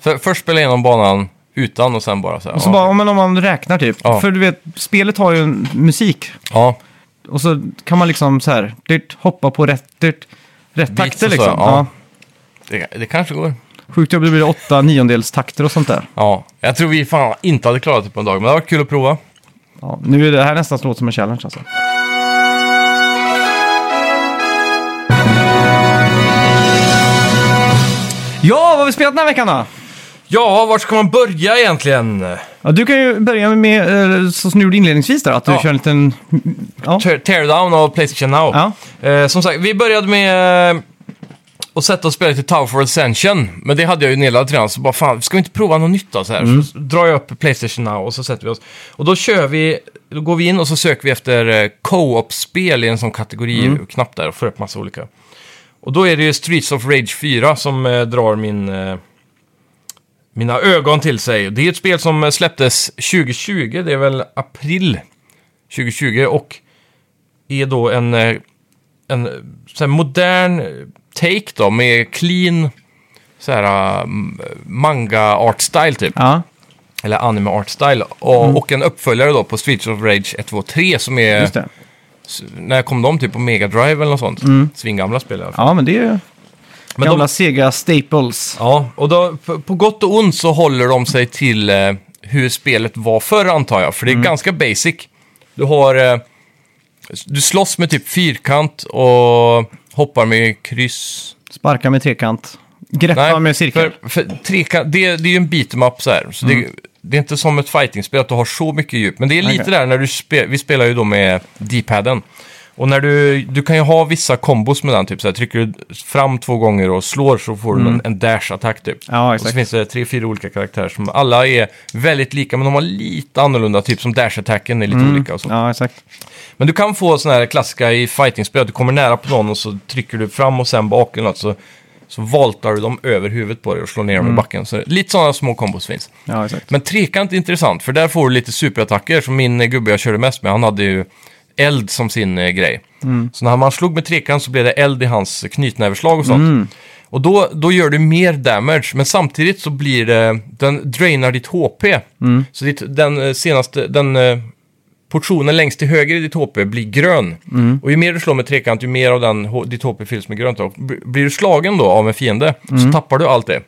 Speaker 2: För, först spela igenom banan utan och sen bara så här.
Speaker 1: Och så
Speaker 2: ja.
Speaker 1: bara, om man, om man räknar typ.
Speaker 2: Ja.
Speaker 1: För du vet, spelet har ju en musik.
Speaker 2: ja.
Speaker 1: Och så kan man liksom så här, dyrt, hoppa på rätt, dyrt, rätt
Speaker 2: Beats och
Speaker 1: takter
Speaker 2: så,
Speaker 1: liksom.
Speaker 2: ja.
Speaker 1: Ja.
Speaker 2: Det, det kanske går.
Speaker 1: Sjukt jobbigt blir det åtta niondels takter och sånt där.
Speaker 2: Ja. Jag tror vi fan inte hade klarat det på en dag, men det var kul att prova.
Speaker 1: Ja, nu är det här nästan låter som en challenge alltså. Ja, vad har vi spelat den här veckan då?
Speaker 2: Ja, var ska man börja egentligen?
Speaker 1: Ja, du kan ju börja med, eh, så som du gjorde inledningsvis där, att du
Speaker 2: Ja.
Speaker 1: kör en liten... Ja.
Speaker 2: Tear- Teardown av Playstation Now.
Speaker 1: Ja.
Speaker 2: Eh, som sagt, vi började med eh, att sätta och spela till Tower for Ascension. Men det hade jag ju nedladdat redan, så bara fan, ska vi inte prova något nytt då? Så här?
Speaker 1: Mm.
Speaker 2: Så drar jag upp Playstation Now och så sätter vi oss. Och då kör vi, då går vi in och så söker vi efter eh, co-op-spel i en sån
Speaker 1: Mm.
Speaker 2: kategori-knapp där och får upp massa olika. Och då är det ju Streets of Rage 4 som eh, drar min... Eh, mina ögon till sig. Det är ett spel som eh, släpptes 2020, det är väl april 2020 och är då en, eh, en eh, så här modern eh, take då med clean så här, eh, manga art style typ.
Speaker 1: Ja. Mm.
Speaker 2: Eller anime art style. Och, och en uppföljare då på Streets of Rage 1, 2, 3 som är...
Speaker 1: just det.
Speaker 2: s- När kom de? Typ på Mega Drive eller något sånt.
Speaker 1: Mm.
Speaker 2: Svingamla spel i alla fall.
Speaker 1: Ja, men det är ju
Speaker 2: Men
Speaker 1: gamla
Speaker 2: de-
Speaker 1: sega staples.
Speaker 2: Ja, och då, på, på gott och ont så håller de sig till eh, hur spelet var förr antar jag. För det är ganska basic. Du har... Eh, du slåss med typ fyrkant och hoppar med kryss.
Speaker 1: Sparka med trekant. Greppa med cirkel.
Speaker 2: För, för trekant, det, det är ju en beat'em up så här. Så
Speaker 1: Mm.
Speaker 2: det, det är inte som ett fightingspel att du har så mycket djup. Men det är lite
Speaker 1: Okej.
Speaker 2: där när du spelar, vi spelar ju då med D-paden. Och när du, du kan ju ha vissa kombos med den, typ så här, trycker du fram två gånger och slår så får du en, en dash-attack typ.
Speaker 1: Mm. Ja,
Speaker 2: Och så
Speaker 1: exakt.
Speaker 2: finns det tre, fyra olika karaktärer som alla är väldigt lika, men de har lite annorlunda, typ som dash-attacken är lite olika och så.
Speaker 1: Mm. Ja, exakt.
Speaker 2: Men du kan få sådana här klassiska i fightingspel. att Du kommer nära på någon och så trycker du fram och sen bak eller något. Så, så voltar du dem över huvudet på dig och slår ner dem i backen. Så, lite sådana små kombos finns.
Speaker 1: Ja, exakt.
Speaker 2: Men trekant är intressant, för där får du lite superattacker. Som min eh, gubbe jag körde mest med, han hade ju eld som sin eh, grej. Så när man slog med trekant så blev det eld i hans knytnäverslag och sånt. Och då, då gör du mer damage, men samtidigt så blir det... Den drainar ditt HP. Så ditt, den eh, senaste... Den, eh, portionen längst till höger i ditt HP blir grön. Och ju mer du slår med trekant, ju mer av den, H- ditt HP fylls med grönt. Och b- Blir du slagen då av en fiende så tappar du allt det.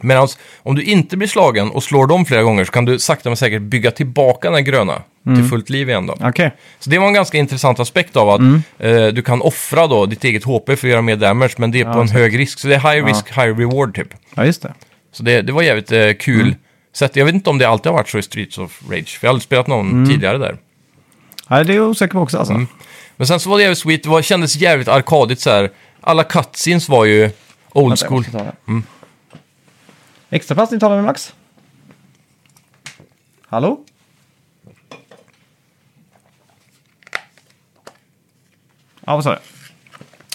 Speaker 2: Medan om du inte blir slagen och slår dem flera gånger så kan du sakta men säkert bygga tillbaka den här gröna till fullt liv igen då.
Speaker 1: Okej.
Speaker 2: Så det var en ganska intressant aspekt av att eh, du kan offra då ditt eget HP för att göra mer damage, men det är på en hög risk. Så det är high risk, high reward typ.
Speaker 1: Ja, just det.
Speaker 2: Så det, det var jävligt eh, kul. sätt. jag vet inte om det alltid har varit så i Streets of Rage, för jag har aldrig spelat någon tidigare där.
Speaker 1: Ja, det är jag osäker på också alltså.
Speaker 2: Mm, Men sen så var det jävligt sweet, det var, kändes jävligt arkadigt så här. Alla cutscenes var ju old
Speaker 1: Vänta, jag
Speaker 2: school.
Speaker 1: måste ta det. Extra pass ni talar med Max? Hallå? Ja, vad sa du?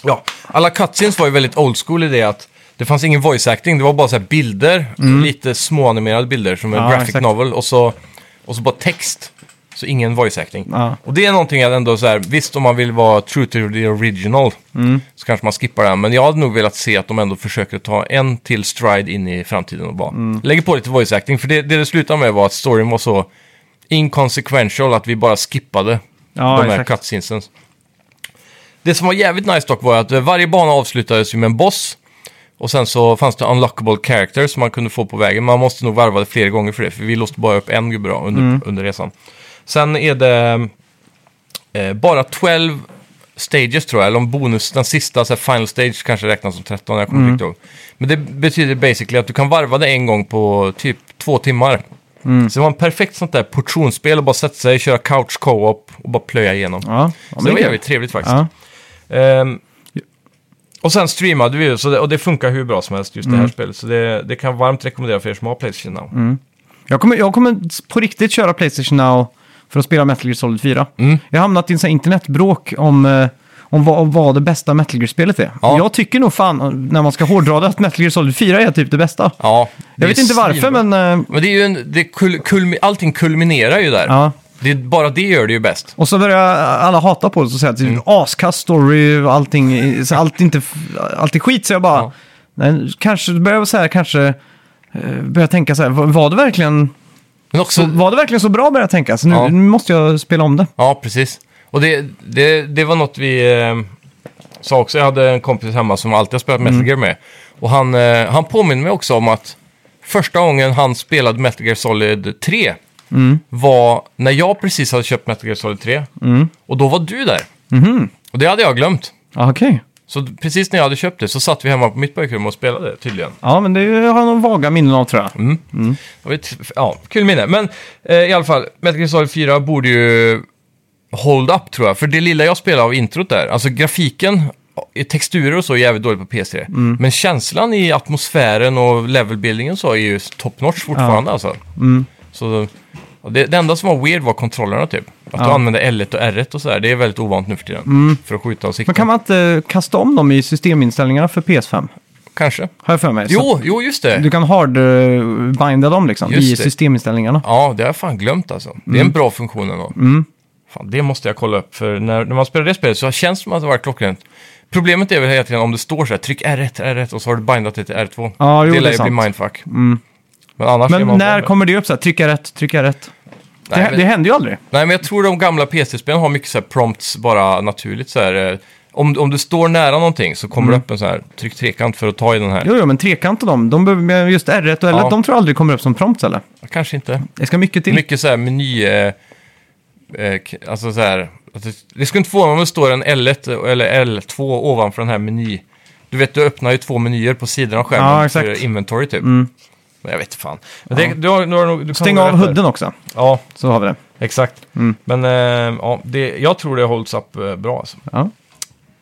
Speaker 2: Ja, alla cutscenes var ju väldigt old school i det att det fanns ingen voice acting, det var bara så här bilder, lite småanimerade bilder som en
Speaker 1: Mm. Ja,
Speaker 2: graphic
Speaker 1: exakt.
Speaker 2: novel och så, och så bara text. Så ingen voice acting.
Speaker 1: Ja.
Speaker 2: Och det är någonting jag ändå så här, visst om man vill vara true to the original
Speaker 1: Mm.
Speaker 2: så kanske man skippar den. Men jag hade nog velat se att de ändå försöker ta en till stride in i framtiden och bara
Speaker 1: Mm.
Speaker 2: lägger på lite voice acting. För det det, det slutade med var att storyn var så inconsequential att vi bara skippade
Speaker 1: Ja,
Speaker 2: de här
Speaker 1: exakt.
Speaker 2: cutscenesen. Det som var jävligt nice dock var att eh, varje bana avslutades ju med en boss. Och sen så fanns det unlockable characters som man kunde få på vägen. Man måste nog varva det flera gånger för det, för vi låste bara upp en gubbe då under, under resan. Sen är det eh, bara 12 stages tror jag, eller om bonus, den sista, så här final stage kanske räknas som 13, jag kommer inte riktigt ihåg. Men det betyder basically att du kan varva det en gång på typ två timmar. Så det var en perfekt sånt där portionsspel och bara sätta sig, köra couch co-op och bara plöja igenom.
Speaker 1: Ja, ja,
Speaker 2: Så det var
Speaker 1: kul.
Speaker 2: jävligt trevligt faktiskt.
Speaker 1: Ja.
Speaker 2: Ehm, och sen streamade vi ju, så det, och det funkar hur bra som helst just
Speaker 1: Mm.
Speaker 2: det här spelet. Så det, det kan jag varmt rekommendera för er som har Playstation Now.
Speaker 1: Jag kommer, jag kommer på riktigt köra Playstation Now för att spela Metal Gear Solid 4.
Speaker 2: Mm.
Speaker 1: Jag har hamnat i en sån här internetbråk om, eh, om vad, vad det bästa Metal Gear-spelet är.
Speaker 2: Ja.
Speaker 1: Jag tycker nog fan, eh, när man ska hårdra det, att Metal Gear Solid 4 är typ det bästa.
Speaker 2: Ja, det
Speaker 1: Jag
Speaker 2: är
Speaker 1: vet inte varför,
Speaker 2: svinbra.
Speaker 1: men... eh,
Speaker 2: Men det är ju en, det kul, kulmi, allting kulminerar ju där.
Speaker 1: Ja.
Speaker 2: Det, är- bara det gör det ju bäst.
Speaker 1: Och så börjar alla hata på det och säga att det är
Speaker 2: Mm.
Speaker 1: en askass story och allting, så allt, inte, allt är skit. Så jag bara,
Speaker 2: Ja.
Speaker 1: nej, kanske börjar jag så här, kanske eh, börjar tänka så här, var, var, det verkligen,
Speaker 2: Men
Speaker 1: så,
Speaker 2: också,
Speaker 1: var det verkligen så bra börjar jag tänka? Så nu,
Speaker 2: Ja.
Speaker 1: nu måste jag spela om det.
Speaker 2: Ja, precis. Och det, det, det var något vi eh, sa också. Jag hade en kompis hemma som alltid har spelat Metal Gear med. Och han, eh, han påminner mig också om att första gången han spelade Metal Gear Solid 3 var när jag precis hade köpt Metal Gear Solid 3. Och då var du där. Och det hade jag glömt.
Speaker 1: Ja, Okej.
Speaker 2: Så d- precis när jag hade köpt det så satt vi hemma på mitt pojkrum och spelade tydligen.
Speaker 1: Ja, men det har jag nog vaga minnen av tror jag.
Speaker 2: Mm. Jag vet, ja, kul minne. Men eh, i alla fall, Metal Gear Solid 4 borde ju hold up tror jag. För det lilla jag spelar av introt där, alltså grafiken, i texturer och så är jävligt dåligt på PS3.
Speaker 1: Mm.
Speaker 2: Men känslan i atmosfären och levelbildningen så är ju top notch fortfarande alltså.
Speaker 1: Mm.
Speaker 2: Så och det, det enda som var weird var kontrollerna typ. Att du
Speaker 1: Ja. Mm.
Speaker 2: använde L1 och R1 och sådär, det är väldigt ovant nu för tiden. För att skjuta och sikta.
Speaker 1: Men kan man inte kasta om dem i systeminställningarna för PS5?
Speaker 2: Kanske.
Speaker 1: Har jag för mig. Så
Speaker 2: Jo, jo, just det.
Speaker 1: att Du kan hardbinda dem liksom
Speaker 2: Just
Speaker 1: i
Speaker 2: det.
Speaker 1: systeminställningarna.
Speaker 2: Ja, det har jag fan glömt alltså. Det är
Speaker 1: Mm.
Speaker 2: en bra funktion ändå. Fan, det måste jag kolla upp, för när, när man spelar det spelet så känns det som att det var klockrent. Problemet är väl hela tiden om det står så här, tryck R1, R1 och så har du bindat det till R2.
Speaker 1: Ja, jo,
Speaker 2: det
Speaker 1: det är
Speaker 2: lär ju bli
Speaker 1: sant. Mm.
Speaker 2: mindfuck. Men annars är
Speaker 1: Men
Speaker 2: man
Speaker 1: när
Speaker 2: bra med-
Speaker 1: kommer det upp så här, trycka rätt, trycka rätt?
Speaker 2: Nej,
Speaker 1: det,
Speaker 2: men-
Speaker 1: det händer ju aldrig.
Speaker 2: Nej, men jag tror de gamla PC-spelen har mycket så här prompts bara naturligt så här. eh, Om, om du står nära någonting så kommer det upp en så här, tryck trekant för att ta i den här.
Speaker 1: Mm. Jo, jo men trekant och dem, de, behöver- just R1 och L1,
Speaker 2: Ja.
Speaker 1: de tror jag aldrig kommer upp som prompts eller?
Speaker 2: Kanske inte.
Speaker 1: Det ska mycket till.
Speaker 2: Mycket så här meny... Eh, eh, k- alltså så här... att Det, det skulle inte förvåna mig om det står en L1 eller L2 ovanför den här meny. Du vet, du öppnar ju två menyer på sidan av skärmen
Speaker 1: Ja, exakt. Mm.
Speaker 2: för inventory typ. Men jag vet fan. Men det, du har, du har, nog- du kan
Speaker 1: Stäng
Speaker 2: nog
Speaker 1: av
Speaker 2: rätt där.
Speaker 1: hudden Mm. också,
Speaker 2: Ja,
Speaker 1: så har vi det.
Speaker 2: exakt. Men eh, ja, det, jag tror det hålls upp eh, bra alltså.
Speaker 1: Ja.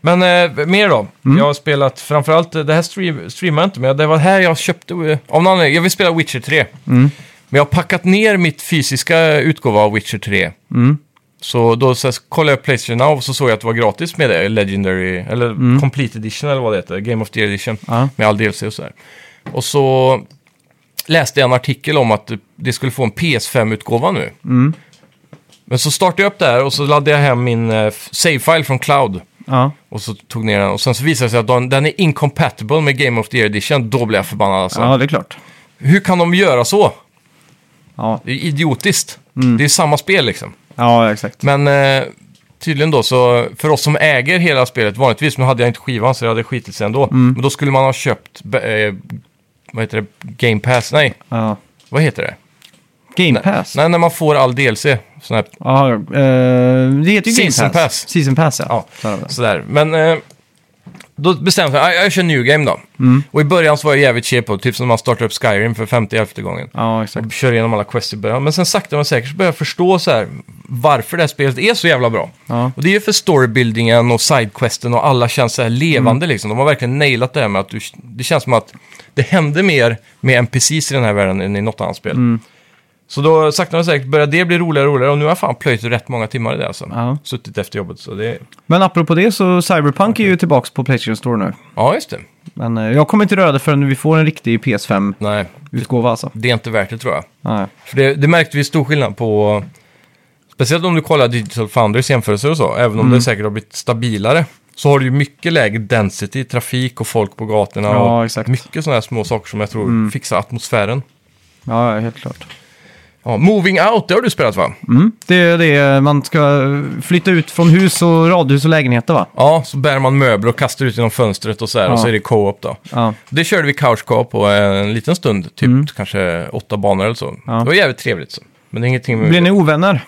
Speaker 2: Men eh, mer då. Jag har spelat framförallt, eh, det här stream, streamar jag inte, men det var här jag köpte, eh, av någon anledning, jag vill spela Witcher 3. Men jag har packat ner mitt fysiska utgåva av Witcher 3. Så då så här, kollade jag Playstation Now och så såg jag att det var gratis med det, Legendary, eller Complete Edition eller vad det heter, Game of the Year Edition,
Speaker 1: Ja.
Speaker 2: med all DLC och sådär. Och så läste jag en artikel om att det skulle få en PS5-utgåva nu. Men så startade jag upp det här och så laddade jag hem min eh, f- save-file från cloud.
Speaker 1: Ja.
Speaker 2: Och så tog ner den och sen så visade det sig att den, den är incompatible med Game of the Year Edition. Då blev jag förbannad alltså.
Speaker 1: ja, det är klart.
Speaker 2: Hur kan de göra så?
Speaker 1: Ja,
Speaker 2: Det är idiotiskt.
Speaker 1: Mm.
Speaker 2: Det är samma spel liksom.
Speaker 1: ja exakt.
Speaker 2: Men eh, tydligen då, så för oss som äger hela spelet vanligtvis, nu hade jag inte skivan så jag hade skitit sig ändå.
Speaker 1: Mm.
Speaker 2: Men då skulle man ha köpt, b- eh, vad heter det, Game Pass? Nej,
Speaker 1: Ja.
Speaker 2: vad heter det?
Speaker 1: Game Pass?
Speaker 2: Nej, när man får all DLC. Sån här
Speaker 1: Ja, eh, det heter ju Game
Speaker 2: Season Pass.
Speaker 1: Season Pass, ja.
Speaker 2: Ja,
Speaker 1: Så är det.
Speaker 2: sådär. Men eh, då bestämde jag mig, jag, jag kör New Game då.
Speaker 1: Mm.
Speaker 2: Och i början så var jag jävligt cheap på, typ som när man startar upp Skyrim för 50 gången.
Speaker 1: Ja, exakt.
Speaker 2: Och kör igenom alla quests i början. Men sen sakta men säkert så börjar jag förstå så här, varför det här spelet är så jävla bra.
Speaker 1: Ja.
Speaker 2: Och det är ju för storybuildingen och sidequesten och alla känns så här levande
Speaker 1: Mm.
Speaker 2: liksom. De har verkligen nailat det här med att du,
Speaker 1: Mm.
Speaker 2: det känns som att det händer mer med NPCs i den här världen än i något annat spel. Så då sakta men säkert började det bli roligare och roligare och nu har jag fan plöjt rätt många timmar i det alltså.
Speaker 1: Ja.
Speaker 2: Suttit efter jobbet så det...
Speaker 1: Men apropå det så Cyberpunk är ju tillbaka på Playstation Store nu.
Speaker 2: Ja, just det.
Speaker 1: Men eh, jag kommer inte röra det förrän vi får en riktig PS5-utgåva
Speaker 2: Nej,
Speaker 1: alltså.
Speaker 2: det är inte värt det tror jag.
Speaker 1: Nej.
Speaker 2: För det, det märkte vi stor skillnad på... Speciellt om du kollar Digital Founders jämförelser och så, även om
Speaker 1: Mm.
Speaker 2: det säkert har blivit stabilare. Så har du ju mycket lägre density, trafik och folk på gatorna.
Speaker 1: Ja,
Speaker 2: och
Speaker 1: exakt. Mm.
Speaker 2: Mycket sådana här små saker som jag tror fixar atmosfären.
Speaker 1: Ja, ja, helt klart.
Speaker 2: Ja, moving out, det har du spelat va?
Speaker 1: Mm. Det är det man ska flytta ut från hus och radhus och lägenheter va?
Speaker 2: Ja, så bär man möbler och kastar ut genom fönstret och så här, och
Speaker 1: Ja.
Speaker 2: så är det co-op då.
Speaker 1: Ja.
Speaker 2: Det körde vi couch co-op på en liten stund, typ kanske åtta banor eller så.
Speaker 1: Mm. Ja.
Speaker 2: Det var jävligt trevligt. Så. Men det är ingenting med...
Speaker 1: Blir ni ovänner?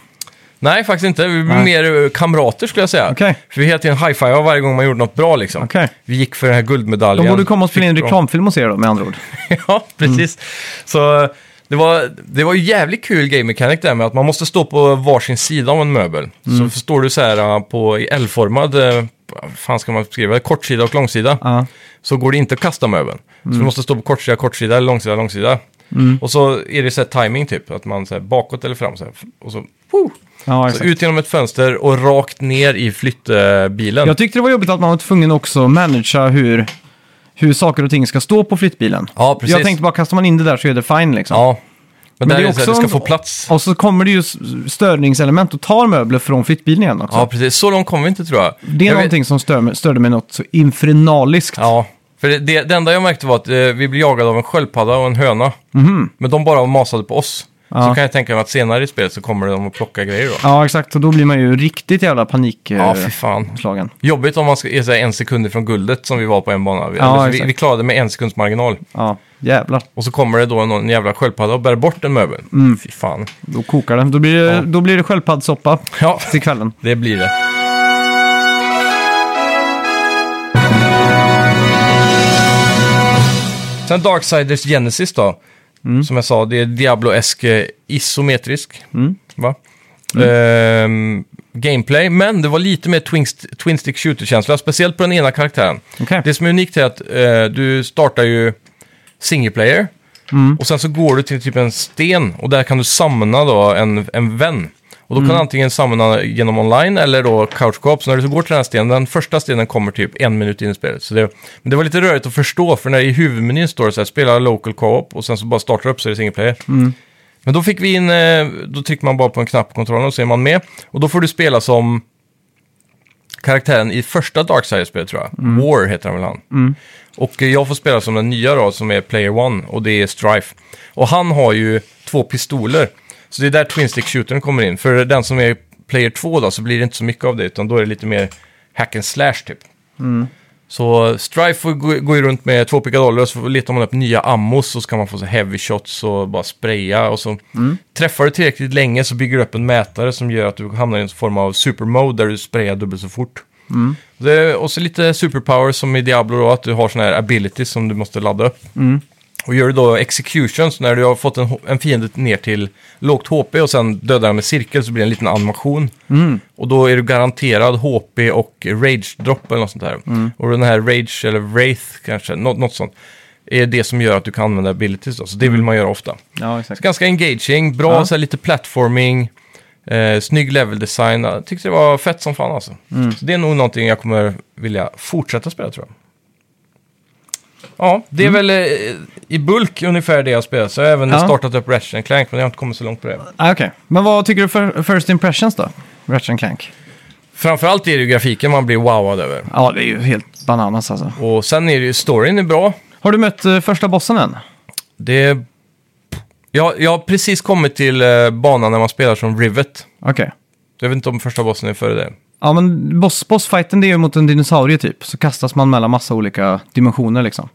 Speaker 2: Nej, faktiskt inte. Vi blev
Speaker 1: Nej.
Speaker 2: mer eh, kamrater skulle jag säga.
Speaker 1: Okej.
Speaker 2: För vi hela tiden high-five varje gång man gjorde något bra liksom.
Speaker 1: Okej.
Speaker 2: Vi gick för den här
Speaker 1: De
Speaker 2: guldmedaljen.
Speaker 1: borde komma och spela in Mm.
Speaker 2: Fick bra-
Speaker 1: reklamfilm hos er då, med andra ord.
Speaker 2: ja, precis. Så eh, det var, det var ju jävligt kul game mechanic där med att man måste stå på varsin sida av en möbel.
Speaker 1: Mm.
Speaker 2: Så står du så här eh, på, i L-formad, eh, vad fan ska man beskriva det? kortsida och långsida.
Speaker 1: Ja. Mm.
Speaker 2: Så går det inte att kasta möbeln. Så du måste stå på kortsida, kortsida, långsida, långsida. Och så är det så här timing typ, att man så här bakåt eller fram så här. Och så, woo!
Speaker 1: Ja,
Speaker 2: så
Speaker 1: exakt.
Speaker 2: Alltså, ut genom ett fönster och rakt ner i flyttbilen.
Speaker 1: Jag tyckte det var jobbigt att man var tvungen också att managea hur, hur saker och ting ska stå på flyttbilen.
Speaker 2: Ja, precis.
Speaker 1: Jag tänkte bara, kastar man in det där så är det fine liksom.
Speaker 2: Ja.
Speaker 1: Men
Speaker 2: Men, där
Speaker 1: det
Speaker 2: är
Speaker 1: är
Speaker 2: det så här,
Speaker 1: också
Speaker 2: det ska
Speaker 1: en-
Speaker 2: få plats.
Speaker 1: Och så kommer det ju s- störningselement och tar möbler från flyttbilen igen också.
Speaker 2: Ja, precis. Så långt kommer vi inte tror jag.
Speaker 1: Det är
Speaker 2: jag vet-
Speaker 1: någonting som stör, mig- störde mig något så infernaliskt.
Speaker 2: Ja, för det, det, det enda jag märkte var att eh, vi blev jagade av en sköldpadda och en höna. Men de bara masade på oss. Så
Speaker 1: Mhm. Ja.
Speaker 2: kan jag tänka mig att senare i spelet så kommer de att plocka grejer då.
Speaker 1: Ja, exakt. Och då blir man ju riktigt jävla eh,
Speaker 2: Ja, fy
Speaker 1: panikslagen.
Speaker 2: fan. Jobbigt om man ska, är så här en sekund ifrån guldet som vi var på en bana. Vi,
Speaker 1: Ja,
Speaker 2: alltså, vi,
Speaker 1: exakt.
Speaker 2: vi klarade med en sekunds marginal.
Speaker 1: Ja, jävlar.
Speaker 2: Och så kommer det då någon jävla sköldpadda och bär bort en möbel.
Speaker 1: Mm.
Speaker 2: Fy fan.
Speaker 1: Då kokar det. Då blir det,
Speaker 2: Ja.
Speaker 1: då blir det sköldpaddsoppa
Speaker 2: Ja,
Speaker 1: till kvällen.
Speaker 2: det blir det. Sen Darksiders Genesis då. Som jag sa, det är Diablo-esk eh, isometrisk. Va? Ehm, gameplay, men det var lite mer twin, twin stick shooter-känsla, speciellt på den ena karaktären.
Speaker 1: Okej.
Speaker 2: Det som är unikt är att eh, du startar ju single player och sen så går du till typ en sten och där kan du samla då en, en vän. Och då kan du antingen samla genom online eller då couch co-op. Så när du så går till den här stenen, den första stenen kommer typ en minut in i spelet. Så det, men det var lite rörigt att förstå, för när i huvudmenyn står det så här, spela local co-op och sen så bara startar upp så är det single player. Men då fick vi in, eh, då trycker man bara på en knapp på kontrollen och så är man med. Och då får du spela som karaktären i första Darksiders-spelet tror jag. War heter han väl han. Och eh, jag får spela som den nya då, som är Player One, och det är Strife. Och han har ju två pistoler. Så det är där Twin Stick Shootern kommer in. För den som är Player 2 då, så blir det inte så mycket av det, utan då är det lite mer hack and slash typ. Så Strife får gå, går ju runt med två pickadoller och så letar man upp nya ammos så ska man få så heavy shots och bara spraya och så träffar du tillräckligt länge så bygger du upp en mätare som gör att du hamnar i en form av supermode där du sprayar dubbelt så fort. Det, och så lite superpowers som i Diablo då, att du har såna här abilities som du måste ladda upp. Och gör du då executions när du har fått en, en fiende ner till lågt HP och sen dödar den med cirkel så blir det en liten animation. Och då är du garanterad HP och rage drop eller något sånt där. Och den här rage eller wraith kanske, något, något sånt, är det som gör att du kan använda abilities då. Så det vill man göra ofta.
Speaker 1: Ja, exakt.
Speaker 2: Ganska engaging, bra
Speaker 1: Ja.
Speaker 2: så här, lite platforming, eh, snygg level design. Jag tyckte det var fett som fan alltså.
Speaker 1: Mm.
Speaker 2: Så det är nog någonting jag kommer vilja fortsätta spela tror jag. Ja, det är väl eh, i bulk ungefär det jag spelar. Så jag har även
Speaker 1: Mm. Ja.
Speaker 2: startat upp Ratchet Clank, men jag har inte kommit så långt på det.
Speaker 1: Ah, Okej. Men vad tycker du för first impressions då? Ratchet Clank?
Speaker 2: Framförallt är det ju grafiken man blir wowad över.
Speaker 1: Ja, det är ju helt bananas alltså.
Speaker 2: Och sen är det ju, storyn är bra.
Speaker 1: Har du mött eh, första bossen än?
Speaker 2: Det... Jag, jag har precis kommit till eh, banan när man spelar som Rivet.
Speaker 1: Okej.
Speaker 2: Jag vet inte om första bossen är före det.
Speaker 1: Ja, men boss, bossfighten det är ju mot en dinosaurie typ. Så kastas man mellan massa olika dimensioner liksom.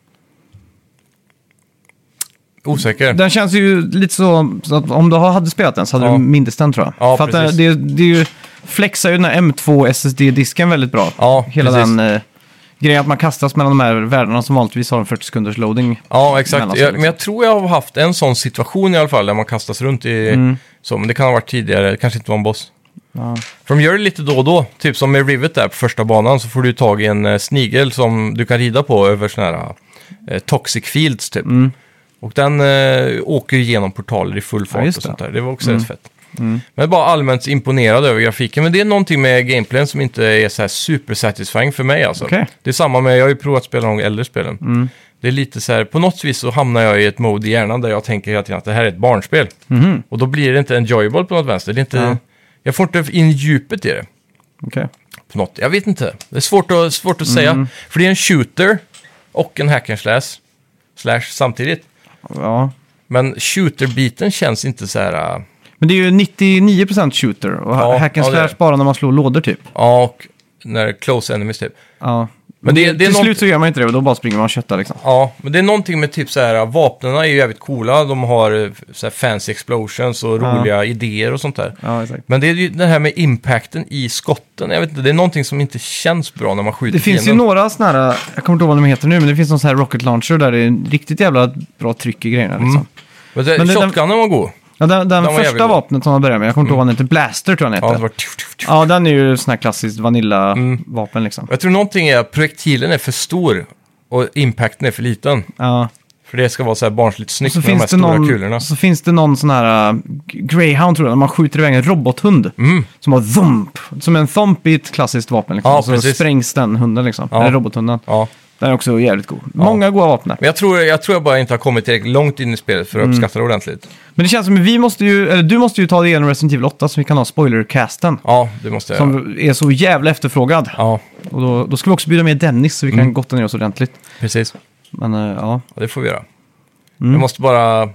Speaker 2: Osäker.
Speaker 1: Den känns ju lite så, så att om du har- hade spelat den så hade
Speaker 2: Ja.
Speaker 1: du mindes den tror jag.
Speaker 2: Ja,
Speaker 1: För att eh,
Speaker 2: precis.
Speaker 1: det, det, det är ju, flexar ju den här M2 SSD-disken väldigt bra.
Speaker 2: Ja,
Speaker 1: Hela
Speaker 2: precis.
Speaker 1: den eh, grejen att man kastas mellan de här världarna som vanligtvis har en 40 sekunders loading.
Speaker 2: Ja, exakt.
Speaker 1: mellan sig,
Speaker 2: Jag,
Speaker 1: liksom.
Speaker 2: men jag tror jag har haft en sån situation i alla fall, där man kastas runt i... Så, men det kan ha varit tidigare, det kanske inte var en boss.
Speaker 1: Mm. Ja.
Speaker 2: För de gör det lite då och då, typ som med Rivet där på första banan så får du tag i
Speaker 1: Mm.
Speaker 2: en eh, snigel som du kan rida på över såna här eh, toxic fields typ. Och den eh, åker ju igenom portaler i full fart
Speaker 1: Ja, just
Speaker 2: och
Speaker 1: det. Mm.
Speaker 2: sånt där. Det var också rätt fett. Men bara allmänt imponerad över grafiken. Men det är någonting med gameplayen som inte är så här super satisfying för mig alltså.
Speaker 1: Okej. Mm.
Speaker 2: Det är samma med, jag har ju provat att spela de äldre spelen. Det är lite så här, på något vis så hamnar jag i ett mode i hjärnan där jag tänker hela tiden att det här är ett barnspel. Och då blir det inte enjoyable på något vänster. Det är inte,
Speaker 1: Mm-hmm. Ja.
Speaker 2: Jag får inte in djupet i det
Speaker 1: Okej.
Speaker 2: på något. Jag vet inte. Det är svårt att, svårt att
Speaker 1: Mm.
Speaker 2: säga. För det är en shooter och en hack and slash, slash samtidigt.
Speaker 1: Ja.
Speaker 2: Men shooter-biten känns inte så här... äh,
Speaker 1: Men det är ju 99% shooter och
Speaker 2: Ja,
Speaker 1: ja, hack and
Speaker 2: ja, det är
Speaker 1: slash
Speaker 2: det.
Speaker 1: bara när man slår lådor typ.
Speaker 2: Ja, och när close enemies typ.
Speaker 1: Ja.
Speaker 2: Men
Speaker 1: Men det,
Speaker 2: det- det är
Speaker 1: till
Speaker 2: någon-
Speaker 1: slut så gör man inte det och då bara springer man och köttar liksom.
Speaker 2: Ja, men det är någonting med typ så här, vapnen är ju jävligt coola. De har eh, så här fancy explosions och
Speaker 1: Ja.
Speaker 2: roliga idéer och sånt där.
Speaker 1: Ja, exakt.
Speaker 2: Men det är ju det här med impacten i skotten. Jag vet inte, det är någonting som inte känns bra när man skjuter
Speaker 1: Det finns ju
Speaker 2: fienden.
Speaker 1: några sådana här, jag kommer inte ihåg vad de heter nu, men det finns någon sån här rocket launcher där det är riktigt jävla bra tryck i grejerna
Speaker 2: Mm.
Speaker 1: liksom.
Speaker 2: Men det,
Speaker 1: Men det-
Speaker 2: shotgunen var god.
Speaker 1: Ja, den den
Speaker 2: var jävligt
Speaker 1: första
Speaker 2: bra.
Speaker 1: vapnet som man började med, jag kommer inte ihåg vad den heter, Blaster tror jag den
Speaker 2: Ja, det
Speaker 1: heter.
Speaker 2: var... Mm.
Speaker 1: Ja, den är ju sån här klassiskt vanilla-vapen liksom.
Speaker 2: Jag tror någonting är att projektilen är för stor och impacten är för liten.
Speaker 1: Ja.
Speaker 2: För det ska vara så här barnsligt snyggt
Speaker 1: Så
Speaker 2: med de här
Speaker 1: finns, det
Speaker 2: stora
Speaker 1: någon,
Speaker 2: kulorna.
Speaker 1: så finns det någon sån här uh, Greyhound tror jag, när man skjuter iväg en robothund. Som har thump, som en thump i ett klassiskt vapen. Liksom.
Speaker 2: Mm. Ja,
Speaker 1: Och så
Speaker 2: precis.
Speaker 1: sprängs den hunden liksom,
Speaker 2: Ja.
Speaker 1: eller robothunden.
Speaker 2: Ja.
Speaker 1: Den är också jävligt god. Många goda vapen där.
Speaker 2: Men jag tror, jag tror jag bara inte har kommit tillräckligt långt in i spelet för att
Speaker 1: Mm.
Speaker 2: uppskatta det ordentligt.
Speaker 1: Men det känns som att vi måste ju, eller du måste ju ta dig igenom Resident Evil 8 så vi kan ha spoilercasten.
Speaker 2: Ja, det måste jag göra.
Speaker 1: Som är så jävla efterfrågad.
Speaker 2: Ja,
Speaker 1: Och då, då ska vi också bjuda med Dennis så vi kan
Speaker 2: Mm.
Speaker 1: gotta ner oss ordentligt.
Speaker 2: precis.
Speaker 1: Men eh, ja,
Speaker 2: Ja, det får vi göra. Jag
Speaker 1: Mm.
Speaker 2: måste bara...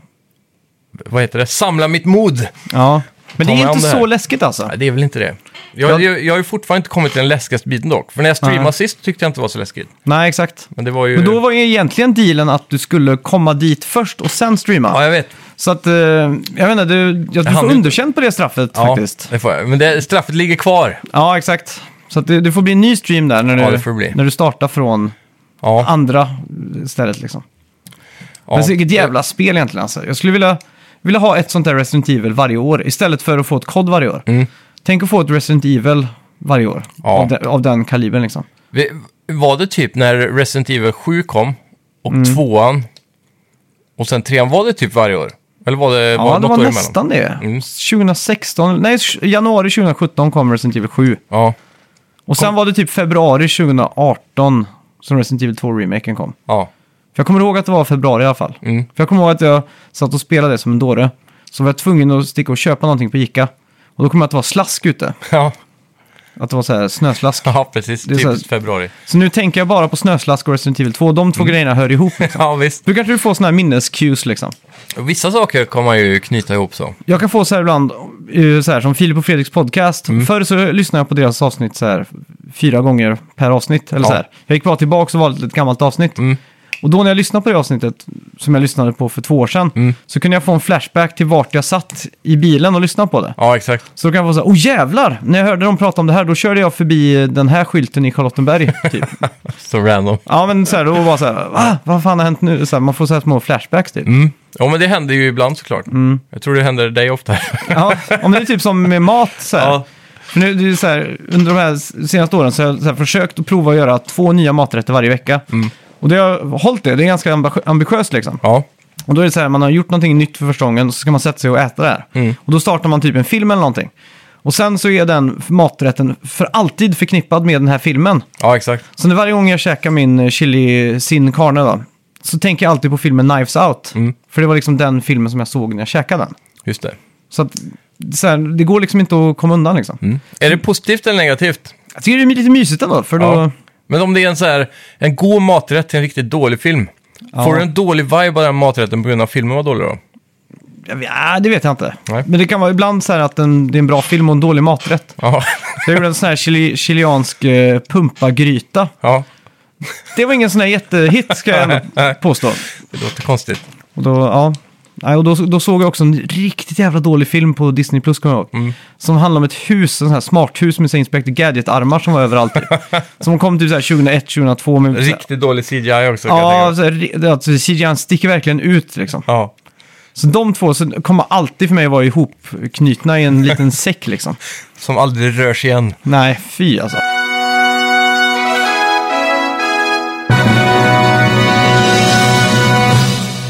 Speaker 2: Vad heter det? Samla mitt mod!
Speaker 1: ja. Men
Speaker 2: Ta
Speaker 1: det
Speaker 2: mig
Speaker 1: är
Speaker 2: an
Speaker 1: inte
Speaker 2: det här.
Speaker 1: så läskigt alltså.
Speaker 2: Nej, det är väl inte det. Jag,
Speaker 1: Jag-
Speaker 2: jag, jag har ju fortfarande inte kommit till den läskigaste biten dock. För när jag streamade
Speaker 1: Nej.
Speaker 2: sist tyckte jag inte det var så läskigt.
Speaker 1: Nej, exakt.
Speaker 2: Men det var ju...
Speaker 1: Men då var ju egentligen dealen att du skulle komma dit först och sen streama.
Speaker 2: Ja, jag vet.
Speaker 1: Så att, eh, jag vet inte, du, jag, du
Speaker 2: hann
Speaker 1: får
Speaker 2: ju-
Speaker 1: underkänt på det straffet
Speaker 2: Ja,
Speaker 1: faktiskt.
Speaker 2: det får jag. Men det, straffet ligger kvar.
Speaker 1: Ja, exakt. Så att det, det får bli en ny stream där när du,
Speaker 2: Ja, det får det bli.
Speaker 1: När du startar från
Speaker 2: Ja,
Speaker 1: andra stället liksom.
Speaker 2: ja.
Speaker 1: Men så vilket jävla spel egentligen alltså. Jag skulle vilja, vilja ha ett sånt där Resident Evil varje år istället för att få ett kod varje år. Tänk att få ett Resident Evil varje år
Speaker 2: Mm. Ja.
Speaker 1: av, den, av den kalibern liksom.
Speaker 2: Vi- Var det typ när Resident Evil 7 kom och
Speaker 1: Mm.
Speaker 2: tvåan och sen trean, var det typ varje år? Eller var det,
Speaker 1: Ja,
Speaker 2: var
Speaker 1: det
Speaker 2: något
Speaker 1: var
Speaker 2: år emellan?
Speaker 1: nästan det. 2016, nej, s- januari 2017 kom Resident Evil 7.
Speaker 2: Ja,
Speaker 1: Och sen var det typ februari 2018 som Resident Evil 2-remaken kom.
Speaker 2: ja,
Speaker 1: För jag kommer ihåg att det var februari i alla fall.
Speaker 2: Mm.
Speaker 1: För jag kommer ihåg att jag satt och spelade det som en dåre. Så var jag tvungen att sticka och köpa någonting på Ica. Och då kom jag att det var slask ute.
Speaker 2: ja,
Speaker 1: Att det var så här snöslask.
Speaker 2: ja precis.
Speaker 1: är
Speaker 2: Typ
Speaker 1: så här-
Speaker 2: februari.
Speaker 1: Så nu tänker jag bara på Snöslask och Resident Evil 2. De två grejerna hör ihop.
Speaker 2: Ja, visst.
Speaker 1: Då kanske du får såna här minnescues liksom.
Speaker 2: Vissa saker kan man ju knyta ihop så.
Speaker 1: Jag kan få så här ibland, eh, så här, som Filip och Fredriks podcast. Förr så lyssnade jag på deras avsnitt så här, fyra gånger per avsnitt. Eller
Speaker 2: Ja.
Speaker 1: så här. Jag gick bara tillbaka och valde ett gammalt avsnitt. Och då när jag lyssnade på det avsnittet, som jag lyssnade på för två år sedan, så kunde jag få en flashback till vart jag satt i bilen och lyssnade på det.
Speaker 2: Ja, exakt.
Speaker 1: Så då kan jag få så här, oh jävlar! När jag hörde dem prata om det här, då körde jag förbi eh, den här skylten i Charlottenberg. Typ.
Speaker 2: Så random.
Speaker 1: Ja, men så här, då var så här, Va? vad fan har hänt nu? Så här, man får så här små flashbacks typ.
Speaker 2: Mm. Ja, men det händer ju ibland såklart.
Speaker 1: Mm.
Speaker 2: Jag tror det händer dig ofta.
Speaker 1: Ja, om det är typ som med mat så här.
Speaker 2: Ja.
Speaker 1: För nu, det är ju så här, under de här senaste åren så har jag så här, försökt att prova att göra två nya maträtter varje vecka. Och det har jag hållit det, det är ganska ambitio- ambitiöst liksom.
Speaker 2: Mm. Ja,
Speaker 1: Och då är det så här, man har gjort någonting nytt för första gången och så ska man sätta sig och äta det här.
Speaker 2: Mm.
Speaker 1: Och då startar man typ en film eller någonting. Och sen så är den maträtten för alltid förknippad med den här filmen.
Speaker 2: ja exakt.
Speaker 1: Så nu varje gång jag käkar min eh, chili sin carne då, så tänker jag alltid på filmen Knives Out.
Speaker 2: Mm.
Speaker 1: För det var liksom den filmen som jag såg när jag käkade den.
Speaker 2: Just det.
Speaker 1: Så att, så här, det går liksom inte att komma undan liksom.
Speaker 2: Mm. Är det positivt eller negativt?
Speaker 1: Jag tycker det är lite mysigt ändå, för då...
Speaker 2: Ja. Men om det är en så här, en god maträtt till en riktigt dålig film. Får du en dålig vibe av den maträtten på grund av att filmen var dålig då?
Speaker 1: Ja, ja, det vet jag inte.
Speaker 2: Nej.
Speaker 1: Men det kan vara ibland så här att en, det är en bra film och en dålig maträtt.
Speaker 2: Ja,
Speaker 1: Jag gjorde en sån här chili, chiliansk eh, pumpagryta.
Speaker 2: ja.
Speaker 1: Det var ingen sån här jättehit, ska jag ändå påstå.
Speaker 2: det låter konstigt.
Speaker 1: Och då, ja. Nej, och då, då såg jag också en riktigt jävla dålig film på Disney Plus, kommer jag ihåg.
Speaker 2: Mm.
Speaker 1: Som handlade om ett hus, en sån här smarthus med så här Inspector Gadget-armar som var överallt. som kom typ så här 2001, 2002. Med,
Speaker 2: Riktigt dålig CGI också kan jag
Speaker 1: Ja,
Speaker 2: tänka
Speaker 1: så här, det- alltså, CGI sticker verkligen ut liksom.
Speaker 2: mig. ja.
Speaker 1: Så de två så kommer alltid för mig vara ihopknutna i en liten säck liksom.
Speaker 2: Som aldrig rör sig igen.
Speaker 1: Nej, fy alltså.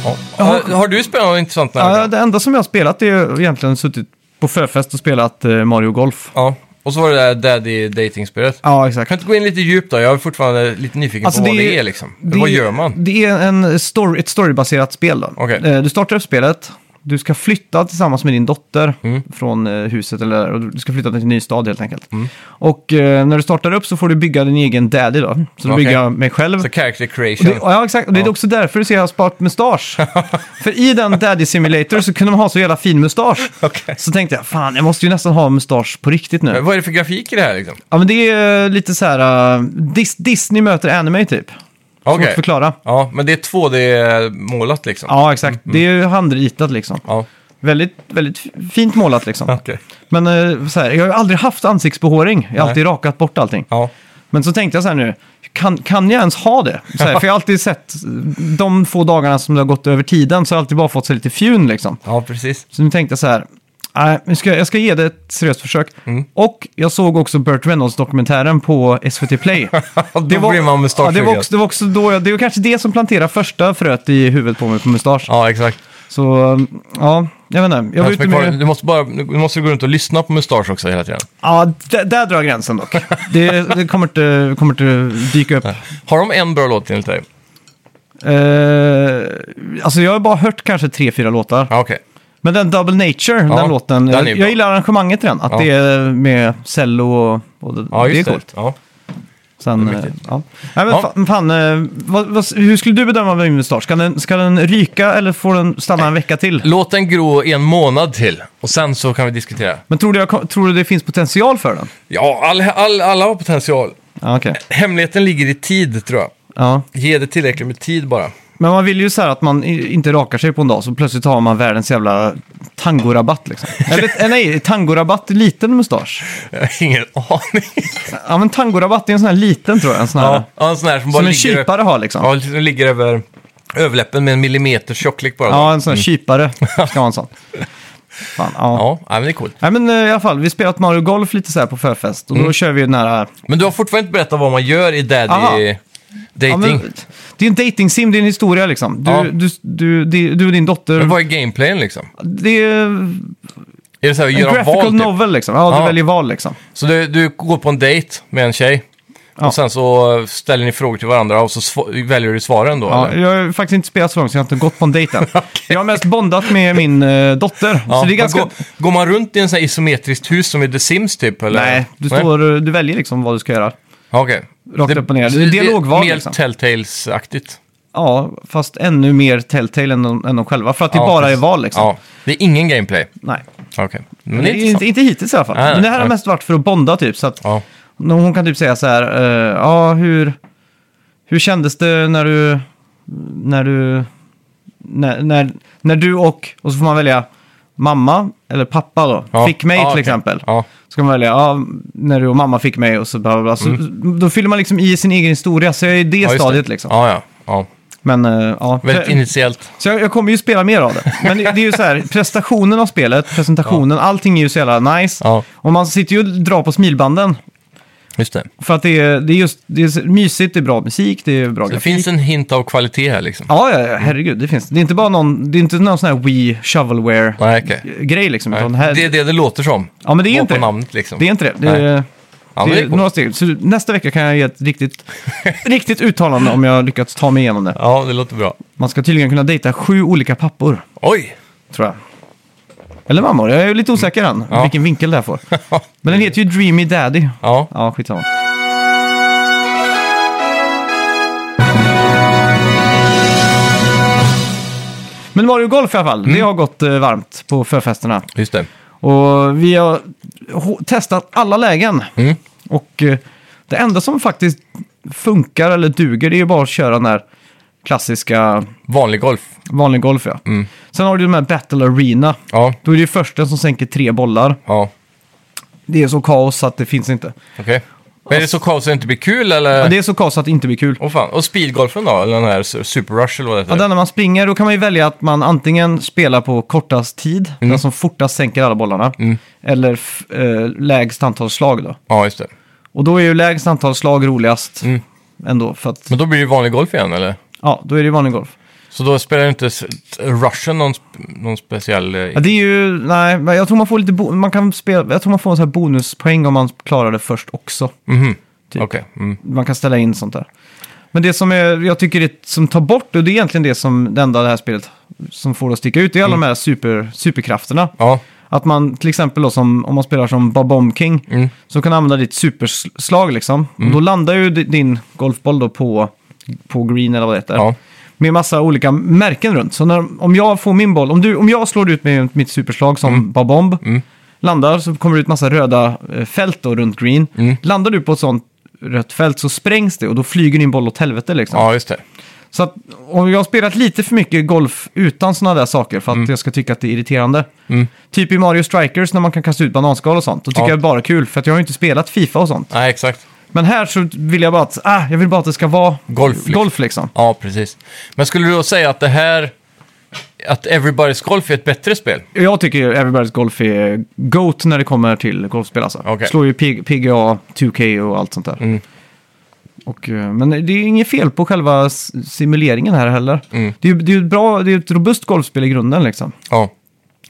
Speaker 2: Ja.
Speaker 1: Ja,
Speaker 2: Har, har du spelat något intressant? När
Speaker 1: Ja, det enda som jag har spelat är ju egentligen suttit på förfest och spelat eh, Mario Golf.
Speaker 2: ja. Och så var det där daddy dating-spelet.
Speaker 1: Ja,
Speaker 2: Kan
Speaker 1: exakt.
Speaker 2: du inte gå in lite djupt då? Jag är fortfarande lite nyfiken
Speaker 1: Alltså,
Speaker 2: på vad
Speaker 1: det är-
Speaker 2: det är liksom. Eller vad gör man?
Speaker 1: Det är en story, ett storybaserat spel. Då.
Speaker 2: Okej.
Speaker 1: Eh, Du startar upp spelet, du ska flytta tillsammans med din dotter
Speaker 2: Mm.
Speaker 1: från eh, huset, eller och du ska flytta till en ny stad helt enkelt.
Speaker 2: Mm.
Speaker 1: Och eh, när du startar upp så får du bygga din egen daddy då. Så du
Speaker 2: Okej.
Speaker 1: bygger mig själv.
Speaker 2: Så character creation.
Speaker 1: Det, ja, exakt. Och det är också därför du ser jag har sparat mustasch. För i den Daddy Simulator så kunde man ha så jävla fin mustasch.
Speaker 2: Okej.
Speaker 1: Så tänkte jag, fan jag måste ju nästan ha mustasch på riktigt nu.
Speaker 2: Men Vad är det för grafik i det här liksom?
Speaker 1: Ja men det är eh, lite så här, uh, Dis- Disney möter anime typ. Svårt
Speaker 2: Okej.
Speaker 1: att förklara.
Speaker 2: Ja, men det är 2D-målat liksom.
Speaker 1: Ja exakt, det är ju handritat liksom.
Speaker 2: ja.
Speaker 1: Väldigt, väldigt f- fint målat liksom.
Speaker 2: Okej.
Speaker 1: Men eh, så här, jag har ju aldrig haft ansiktsbehåring, jag har alltid rakat bort allting.
Speaker 2: Ja.
Speaker 1: Men så tänkte jag så här nu, kan, kan jag ens ha det? Så här, för jag har alltid sett, de få dagarna som det har gått över tiden så har jag alltid bara fått så lite fjun liksom.
Speaker 2: ja, precis.
Speaker 1: Så nu tänkte jag så här, nej, nu ska, jag- jag ska ge det ett seriöst försök.
Speaker 2: Mm.
Speaker 1: Och jag såg också Burt Reynolds-dokumentären på SVT Play.
Speaker 2: Då
Speaker 1: Det var,
Speaker 2: blir man
Speaker 1: ja, det, var
Speaker 2: mustaschsugen.
Speaker 1: också, det var också då jag, det var kanske det som planterade första fröet i huvudet på mig på mustasch.
Speaker 2: Ja, exakt.
Speaker 1: Så, um, ja, jag vet inte. Jag var
Speaker 2: Hans
Speaker 1: ute
Speaker 2: McFarlane,
Speaker 1: med,
Speaker 2: Du måste, bara, du måste gå runt och lyssna på mustasch också hela tiden.
Speaker 1: ja, där, där drar jag gränsen dock. Det, det kommer inte, kommer inte dyka upp.
Speaker 2: Har de en bra låt enligt dig?
Speaker 1: Eh, alltså jag har bara hört kanske tre, fyra låtar.
Speaker 2: Ja, okej.
Speaker 1: Men den Double Nature,
Speaker 2: Ja,
Speaker 1: den låten,
Speaker 2: den är
Speaker 1: jag,
Speaker 2: ju bra.
Speaker 1: jag gillar arrangemanget i den. Att
Speaker 2: Ja.
Speaker 1: det är med cello och, och det,
Speaker 2: Ja,
Speaker 1: det är
Speaker 2: just
Speaker 1: coolt.
Speaker 2: Ja.
Speaker 1: Sen,
Speaker 2: Det är
Speaker 1: eh,
Speaker 2: mäktigt.
Speaker 1: ja. Nej, men
Speaker 2: Ja.
Speaker 1: fa- fan, eh, vad, vad, hur skulle du bedöma min mustasch? Ska den, ska den ryka eller får den stanna en vecka till?
Speaker 2: Låt den gro en månad till och sen så kan vi diskutera.
Speaker 1: Men tror du, jag, ko- tror du det finns potential för den?
Speaker 2: Ja, all, all, alla har potential.
Speaker 1: Ja, okej.
Speaker 2: Hemligheten ligger i tid, tror jag.
Speaker 1: Ja.
Speaker 2: Ge det tillräckligt med tid bara.
Speaker 1: Men man vill ju så här att man i- inte rakar sig på en dag så plötsligt har man världens jävla tangorabatt liksom. Eller eh, nej, tangorabatt, liten mustasch.
Speaker 2: Jag har ingen aning.
Speaker 1: Ja men tangorabatt är en sån här liten tror jag, en sån här.
Speaker 2: Ja, ja, en sån här som bara
Speaker 1: Som en
Speaker 2: ligger...
Speaker 1: kypare har liksom.
Speaker 2: Ja, som ligger över överläppen med en millimeter tjocklek bara.
Speaker 1: Ja, en sån här kypare ska ha en sån. Fan, ja.
Speaker 2: Mm. ja, ja men det är coolt.
Speaker 1: Nej men eh, i alla fall, vi spelat Mario Golf lite så här på förfest
Speaker 2: Mm.
Speaker 1: och då kör vi den här...
Speaker 2: Men du har fortfarande inte berättat vad man gör i daddy
Speaker 1: Aha. Ja,
Speaker 2: dating.
Speaker 1: men,
Speaker 2: men...
Speaker 1: det är en dating sim, det är en historia liksom. Du,
Speaker 2: Ja. Mm.
Speaker 1: du, du, du, du och din dotter,
Speaker 2: vad är gameplayen liksom?
Speaker 1: det är en
Speaker 2: Är det så här att göra
Speaker 1: graphical
Speaker 2: val? Typ?
Speaker 1: novel liksom. Ja, du
Speaker 2: Ja.
Speaker 1: väljer val liksom.
Speaker 2: Så du, du går på en dejt med en tjej.
Speaker 1: Ja.
Speaker 2: Och sen så ställer ni frågor till varandra och så sv- väljer du svaren då?
Speaker 1: Ja,
Speaker 2: eller?
Speaker 1: jag har faktiskt inte spelat så långt så jag har inte gått på en dejt än. Jag har mest bondat med min eh, dotter.
Speaker 2: Ja,
Speaker 1: så det är
Speaker 2: men
Speaker 1: ganska...
Speaker 2: går, går man runt i en sån här isometriskt hus som i The Sims typ? Eller?
Speaker 1: Nej, du, står, du väljer liksom vad du ska göra.
Speaker 2: Ja, Okej.
Speaker 1: Rakt upp och ner. Det är dialogval,
Speaker 2: Mer
Speaker 1: liksom.
Speaker 2: Telltales-aktigt.
Speaker 1: Ja, fast ännu mer Telltale än de, än de själva. För att det
Speaker 2: Ja,
Speaker 1: bara är
Speaker 2: precis.
Speaker 1: val liksom.
Speaker 2: Ja, det är ingen gameplay.
Speaker 1: Nej,
Speaker 2: Okej. Men det
Speaker 1: det
Speaker 2: är
Speaker 1: är
Speaker 2: intressant.
Speaker 1: inte, inte hittills i alla fall.
Speaker 2: Nej, nej,
Speaker 1: Men det här har
Speaker 2: nej.
Speaker 1: mest varit för att bonda typ. Så att
Speaker 2: Ja.
Speaker 1: hon kan typ säga så här, eh, ja hur, hur kändes det när du, när du, när, när, när du och, och så får man välja mamma eller pappa då,
Speaker 2: Ja.
Speaker 1: fick mig
Speaker 2: Ja,
Speaker 1: till
Speaker 2: okej.
Speaker 1: exempel.
Speaker 2: Ja.
Speaker 1: Så kan man välja, ja, när du och mamma fick mig och så bla bla bla. Så, Då fyller man liksom i sin egen historia, så jag är i det
Speaker 2: Mm. Ja, just
Speaker 1: stadiet
Speaker 2: det.
Speaker 1: liksom.
Speaker 2: Ja, ja. ja.
Speaker 1: Men, eh, ja.
Speaker 2: Väldigt
Speaker 1: Så-
Speaker 2: initiellt.
Speaker 1: Så jag, jag kommer ju spela mer av det. Men det, det är ju så här, prestationen av spelet, presentationen, allting är ju så jävla nice.
Speaker 2: Ja,
Speaker 1: Och man sitter ju och drar på smilbanden.
Speaker 2: just det.
Speaker 1: För att det är, det är just det är så- mysigt, det är bra musik, det är bra
Speaker 2: Det
Speaker 1: grafik.
Speaker 2: finns en hint av kvalitet här liksom.
Speaker 1: Ja, ja, ja, herregud, det finns. Det är inte bara någon, det är inte någon sån här Wii Shovelware
Speaker 2: Nej, okej.
Speaker 1: grej liksom.
Speaker 2: Nej.
Speaker 1: Utan här,
Speaker 2: Det är det det låter som.
Speaker 1: ja, men det är
Speaker 2: Gå
Speaker 1: inte
Speaker 2: på
Speaker 1: det.
Speaker 2: namnet liksom.
Speaker 1: Det är inte det. Det är,
Speaker 2: Ja,
Speaker 1: det
Speaker 2: men det
Speaker 1: är
Speaker 2: är coolt.
Speaker 1: några steg. Så nästa vecka kan jag ge ett riktigt, riktigt uttalande om jag lyckats ta mig igenom det.
Speaker 2: Ja, det låter bra.
Speaker 1: Man ska tydligen kunna dejta sju olika pappor.
Speaker 2: Oj!
Speaker 1: tror jag. Eller mammor, jag är lite osäker än
Speaker 2: Ja.
Speaker 1: vilken vinkel det här får. Men den heter ju Dreamy Daddy.
Speaker 2: Ja,
Speaker 1: Ja, skitsamma. Men Mario Golf i alla fall,
Speaker 2: Mm.
Speaker 1: det har gått eh, varmt på förfesterna.
Speaker 2: just det.
Speaker 1: Och vi har ho- testat alla lägen.
Speaker 2: Mm.
Speaker 1: Och eh, det enda som faktiskt funkar eller duger det är ju bara att köra den här klassiska
Speaker 2: Vanlig golf.
Speaker 1: vanlig golf. Ja.
Speaker 2: Mm.
Speaker 1: Sen har du de här Battle Arena.
Speaker 2: Ja,
Speaker 1: Då är det ju försten som sänker tre bollar.
Speaker 2: ja.
Speaker 1: Det är så kaos att det finns inte.
Speaker 2: Okej. Men är det så kaos att det inte blir kul eller?
Speaker 1: Ja, det är så kaos att det inte blir kul.
Speaker 2: Åh fan. Och speedgolfen då? Eller den här su- Super Rush eller vad det
Speaker 1: Ja,
Speaker 2: heter?
Speaker 1: där när man springer då kan man ju välja att man antingen spelar på kortast tid,
Speaker 2: Mm.
Speaker 1: den som fortast sänker alla bollarna, eller f- eh, lägst antal slag då.
Speaker 2: Ja, just det.
Speaker 1: Och då är ju lägst
Speaker 2: Mm.
Speaker 1: antal slag roligast ändå, för att
Speaker 2: Men då blir det vanlig golf igen eller?
Speaker 1: ja, då är det ju vanlig golf.
Speaker 2: Så då spelar inte s- Russian någon, sp- någon speciell... eh,
Speaker 1: Ja, det är ju, nej, men jag tror man får lite, bo- man kan spela, jag tror man får en sån här bonuspoäng om man klarar det först också.
Speaker 2: Mhm.
Speaker 1: typ.
Speaker 2: Okej. Mm.
Speaker 1: Man kan ställa in sånt där. Men det som är, jag tycker det som tar bort, och det är egentligen det som det enda det här spelet som får det att sticka ut, det är alla de här super, superkrafterna.
Speaker 2: Ja.
Speaker 1: Att man till exempel då, som, om man spelar som Bob King,
Speaker 2: Mm.
Speaker 1: så kan du använda ditt superslag liksom. Och då landar ju di- din golfboll då på, på green eller vad det heter.
Speaker 2: Ja.
Speaker 1: Med massa olika märken runt. Så när, om jag får min boll, om, du, om jag slår ut med mitt superslag som
Speaker 2: Mm.
Speaker 1: Bob Bomb, landar så kommer det ut massa röda eh, fält då runt green.
Speaker 2: Mm.
Speaker 1: Landar du på ett sånt rött fält så sprängs det och då flyger din boll åt helvete liksom.
Speaker 2: ja, just det.
Speaker 1: Så att, om jag har spelat lite för mycket golf utan sådana där saker för att
Speaker 2: Mm.
Speaker 1: jag ska tycka att det är irriterande. Typ i Mario Strikers när man kan kasta ut bananskal och sånt. Då tycker
Speaker 2: Ja.
Speaker 1: jag det bara är kul för att jag har ju inte spelat Fifa och sånt.
Speaker 2: Nej, exakt.
Speaker 1: Men här så vill jag bara att, ah, jag vill bara att det ska vara
Speaker 2: Golf, liksom.
Speaker 1: golf liksom.
Speaker 2: Ja, precis. Men skulle du då säga att det här... Att Everybody's Golf är ett bättre spel?
Speaker 1: Jag tycker ju Everybody's Golf är GOAT när det kommer till golfspel alltså.
Speaker 2: Okej.
Speaker 1: Slår ju P- PGA, 2K och allt sånt där.
Speaker 2: Mm.
Speaker 1: Och, eh, men det är inget fel på själva s- simuleringen här heller.
Speaker 2: Mm.
Speaker 1: Det är ju det är ju ett bra, det är ju ett robust golfspel i grunden liksom.
Speaker 2: Ja.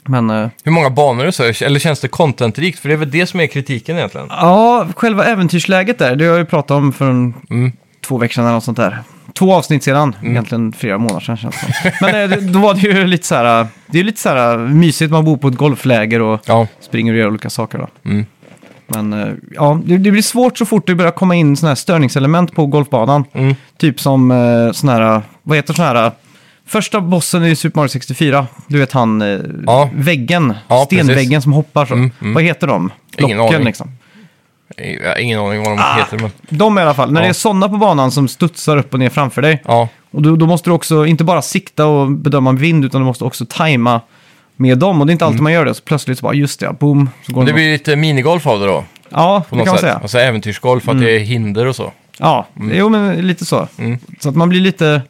Speaker 1: Men eh,
Speaker 2: Hur många banor och så? Eller känns det contentrikt? För det är väl det som är kritiken egentligen?
Speaker 1: ja, själva äventyrsläget där, det har jag ju pratat om för en,
Speaker 2: Mm.
Speaker 1: två veckor sedan eller något sånt där. Två avsnitt sedan, egentligen flera månader sedan känns det som. Men eh, det- då var det ju lite så här, eh, det är lite så här eh, mysigt, man bor på ett golfläger och
Speaker 2: Ja.
Speaker 1: springer och gör olika saker då.
Speaker 2: Mm.
Speaker 1: Men eh, ja, det, det blir svårt så fort det börjar komma in sådana här störningselement på golfbanan.
Speaker 2: Mm.
Speaker 1: Typ som eh, sån här, vad heter sån här, eh, första bossen i Super Mario 64, du vet han, eh,
Speaker 2: Ja.
Speaker 1: väggen,
Speaker 2: Ja,
Speaker 1: stenväggen som hoppar så.
Speaker 2: Mm, mm.
Speaker 1: Vad heter de?
Speaker 2: Ingen
Speaker 1: Blocken,
Speaker 2: aning.
Speaker 1: liksom.
Speaker 2: Jag har ingen aning vad de
Speaker 1: Ah.
Speaker 2: heter, men...
Speaker 1: De i alla fall, när
Speaker 2: Ja.
Speaker 1: det är sådana på banan som studsar upp och ner framför dig.
Speaker 2: Ja.
Speaker 1: Och då, då måste du också inte bara sikta och bedöma vind, utan du måste också tajma med dem. Och det är inte alltid man gör det, så plötsligt så bara, just det, ja, boom. Så går
Speaker 2: Mm. Men det
Speaker 1: den-
Speaker 2: blir lite minigolf av det då?
Speaker 1: Ja,
Speaker 2: På
Speaker 1: det kan
Speaker 2: något
Speaker 1: man
Speaker 2: sätt.
Speaker 1: säga. Mm.
Speaker 2: Alltså äventyrsgolf, för att det är hinder och så.
Speaker 1: Ja, jo men lite så.
Speaker 2: Mm.
Speaker 1: Så att man blir lite...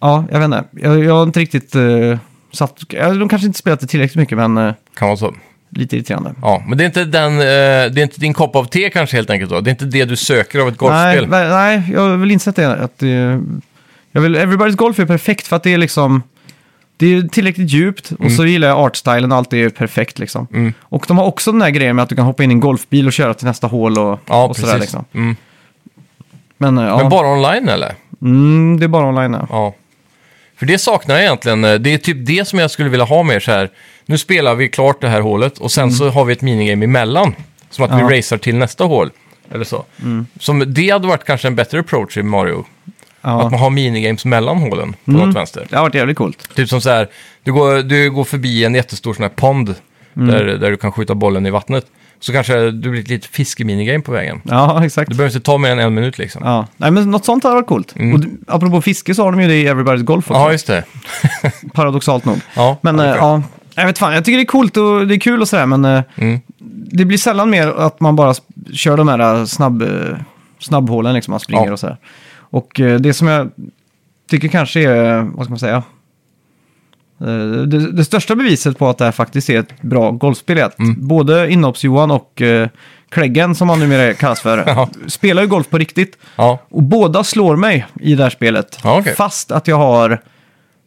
Speaker 1: Ja, jag vet inte. Jag, jag har inte riktigt eh, satt... ja, De kanske inte spelat det tillräckligt mycket, men eh,
Speaker 2: Kan vara så.
Speaker 1: lite irriterande.
Speaker 2: Ja, men det är inte, den, eh, det är inte din kopp av te kanske helt enkelt då? Det är inte det du söker av ett golfspel?
Speaker 1: Nej, nej, nej, jag har väl insett det. Att det jag vill, Everybody's Golf är perfekt för att det är liksom... Det är tillräckligt djupt och så gillar jag artstylen, allt är perfekt liksom.
Speaker 2: Mm.
Speaker 1: Och de har också den här grejen med att du kan hoppa in i en golfbil och köra till nästa hål och,
Speaker 2: ja,
Speaker 1: och sådär
Speaker 2: precis.
Speaker 1: liksom.
Speaker 2: Mm.
Speaker 1: Men, eh, ja.
Speaker 2: Men bara online eller?
Speaker 1: mm, det är bara online. Ja.
Speaker 2: Ja. För det saknar jag egentligen. eh, Det är typ det som jag skulle vilja ha mer så här. Nu spelar vi klart det här hålet och sen så har vi ett minigame emellan. Som att
Speaker 1: Mm. Ja. Mm.
Speaker 2: vi racear till nästa hål. Eller så. Som det hade varit kanske en bättre approach i Mario. Att
Speaker 1: Ja. Mm.
Speaker 2: man har minigames mellan hålen på något vänster.
Speaker 1: Det har varit jävligt coolt.
Speaker 2: Typ som så här, du går, du går förbi en jättestor sån här pond
Speaker 1: Mm.
Speaker 2: där, där du kan skjuta bollen i vattnet. Så kanske du blir ett litet fiskeminigame på vägen.
Speaker 1: Ja, exakt.
Speaker 2: Det Mm. behöver inte ta mer än en minut liksom. Ja,
Speaker 1: Ja. Nej, men något sånt hade varit coolt. Och d- apropå fiske så har de ju det i Everybody's Golf också,
Speaker 2: just det.
Speaker 1: paradoxalt nog.
Speaker 2: Ja,
Speaker 1: Men
Speaker 2: det
Speaker 1: ja,
Speaker 2: är
Speaker 1: eh,
Speaker 2: bra.
Speaker 1: ja, jag vet fan, jag tycker det är coolt och det är kul och sådär, men eh,
Speaker 2: Mm.
Speaker 1: det blir sällan mer att man bara sp- kör de här eh, snabb, eh, snabbhålen, liksom, man springer
Speaker 2: Ja.
Speaker 1: och sådär. Och eh, det som jag tycker kanske är, eh, vad ska man säga, eh, det, det största beviset på att det här faktiskt är ett bra golfspel är att
Speaker 2: Mm.
Speaker 1: både Inhopps-Johan och eh, Kläggen, som han numera kallas för,
Speaker 2: Ja.
Speaker 1: spelar ju golf på riktigt.
Speaker 2: Ja,
Speaker 1: Och båda slår mig i det här spelet.
Speaker 2: Ja, okej.
Speaker 1: Fast att jag har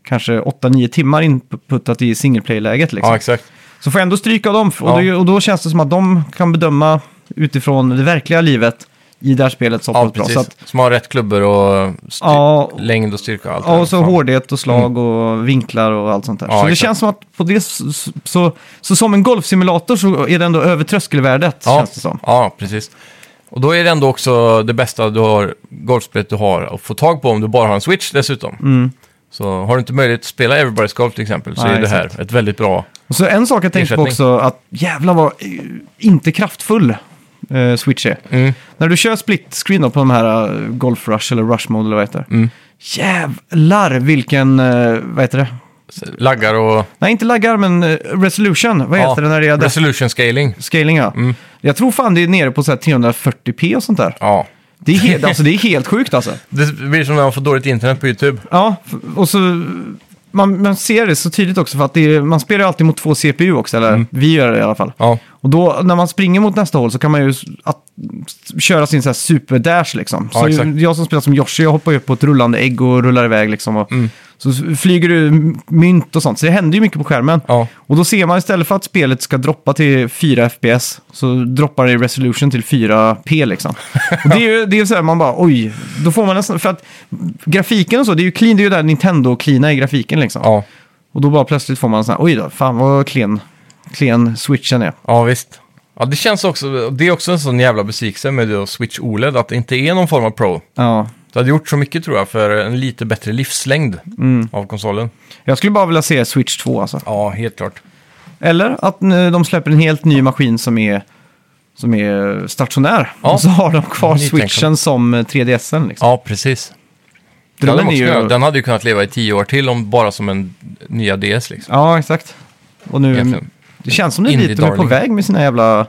Speaker 1: kanske 8-9 timmar inputtat i singleplay-läget. Liksom.
Speaker 2: ja exakt.
Speaker 1: så får jag ändå stryka av dem. Och,
Speaker 2: Ja.
Speaker 1: det, och då känns det som att de kan bedöma utifrån det verkliga livet i det här spelet så
Speaker 2: Ja,
Speaker 1: pass bra.
Speaker 2: precis.
Speaker 1: Så att,
Speaker 2: Som har rätt klubbor och styr-
Speaker 1: Ja.
Speaker 2: längd och styrka och allt. det
Speaker 1: ja,
Speaker 2: här.
Speaker 1: och så
Speaker 2: Fan. Mm.
Speaker 1: hårdhet och slag och vinklar och allt sånt där.
Speaker 2: Ja,
Speaker 1: så det
Speaker 2: exakt.
Speaker 1: känns som att på det så, så, så som en golfsimulator så är det ändå över tröskelvärdet.
Speaker 2: ja.
Speaker 1: Känns det som.
Speaker 2: Ja, precis. Och då är det ändå också det bästa du har, golfspelet du har att få tag på om du bara har en Switch dessutom. Så har du inte möjlighet att spela Everybody's Golf till exempel så
Speaker 1: Mm. Nej,
Speaker 2: är det
Speaker 1: exakt.
Speaker 2: här ett väldigt bra...
Speaker 1: Och så en sak jag tänkte på
Speaker 2: Ersättning.
Speaker 1: också, att jävla vad eh, inte kraftfull eh, Switch är.
Speaker 2: Mm.
Speaker 1: När du kör split screen då på de här eh, Golf Rush eller Rush Mode eller vad heter det?
Speaker 2: Mm.
Speaker 1: Jävlar vilken, eh, vad heter det?
Speaker 2: Laggar och...
Speaker 1: Nej, inte laggar, men eh, resolution. Vad heter det när det är def-
Speaker 2: Resolution scaling.
Speaker 1: scaling? Ja. Jag tror fan det är nere på så här 340p och sånt där.
Speaker 2: Ja.
Speaker 1: Det är, helt, alltså, det är helt sjukt alltså.
Speaker 2: Det blir som när man får dåligt internet på YouTube.
Speaker 1: Ja, f- och så... Man, man ser det så tydligt också för att det är, man spelar ju alltid mot två CPU också, eller vi gör det i alla fall.
Speaker 2: Mm. Ja.
Speaker 1: Och då, när man springer mot nästa hål så kan man ju s- att, s- köra sin så här superdash liksom.
Speaker 2: Ja,
Speaker 1: Så
Speaker 2: exakt.
Speaker 1: jag som spelar som Yoshi, jag hoppar ju upp på ett rullande ägg och rullar iväg liksom. Och
Speaker 2: Mm.
Speaker 1: Så s- flyger du m- mynt och sånt, så det händer ju mycket på skärmen.
Speaker 2: Ja,
Speaker 1: Och då ser man istället för att spelet ska droppa till 4 FPS så droppar det i resolution till 4P liksom. Och det är ju det är så här, man bara oj, då får man nästan, för att grafiken och så, det är ju clean, det är ju där Nintendo-cleana i grafiken liksom.
Speaker 2: ja,
Speaker 1: Och då bara plötsligt får man sån här, oj då, fan vad klen, klen switchen är.
Speaker 2: ja visst. Ja, det känns också, det är också en sån jävla besvikelse med då Switch OLED, att det inte är någon form av Pro.
Speaker 1: Ja.
Speaker 2: Det hade gjort så mycket tror jag för en lite bättre livslängd
Speaker 1: Mm.
Speaker 2: av konsolen.
Speaker 1: Jag skulle bara vilja se Switch 2 alltså.
Speaker 2: Ja, helt klart.
Speaker 1: Eller att eh, de släpper en helt ny maskin som är, som är stationär.
Speaker 2: Ja.
Speaker 1: Och så har de kvar
Speaker 2: Nytänkande.
Speaker 1: switchen som eh, 3DSen liksom.
Speaker 2: Ja, precis. Den hade,
Speaker 1: Drömmen
Speaker 2: man
Speaker 1: är
Speaker 2: också
Speaker 1: ju-
Speaker 2: kunnat- den hade ju kunnat leva i tio år till om bara som en nya DS liksom.
Speaker 1: Ja, exakt. Och nu,
Speaker 2: Egentligen.
Speaker 1: det känns som det är
Speaker 2: Indie
Speaker 1: dit de är på
Speaker 2: darling.
Speaker 1: väg med sina jävla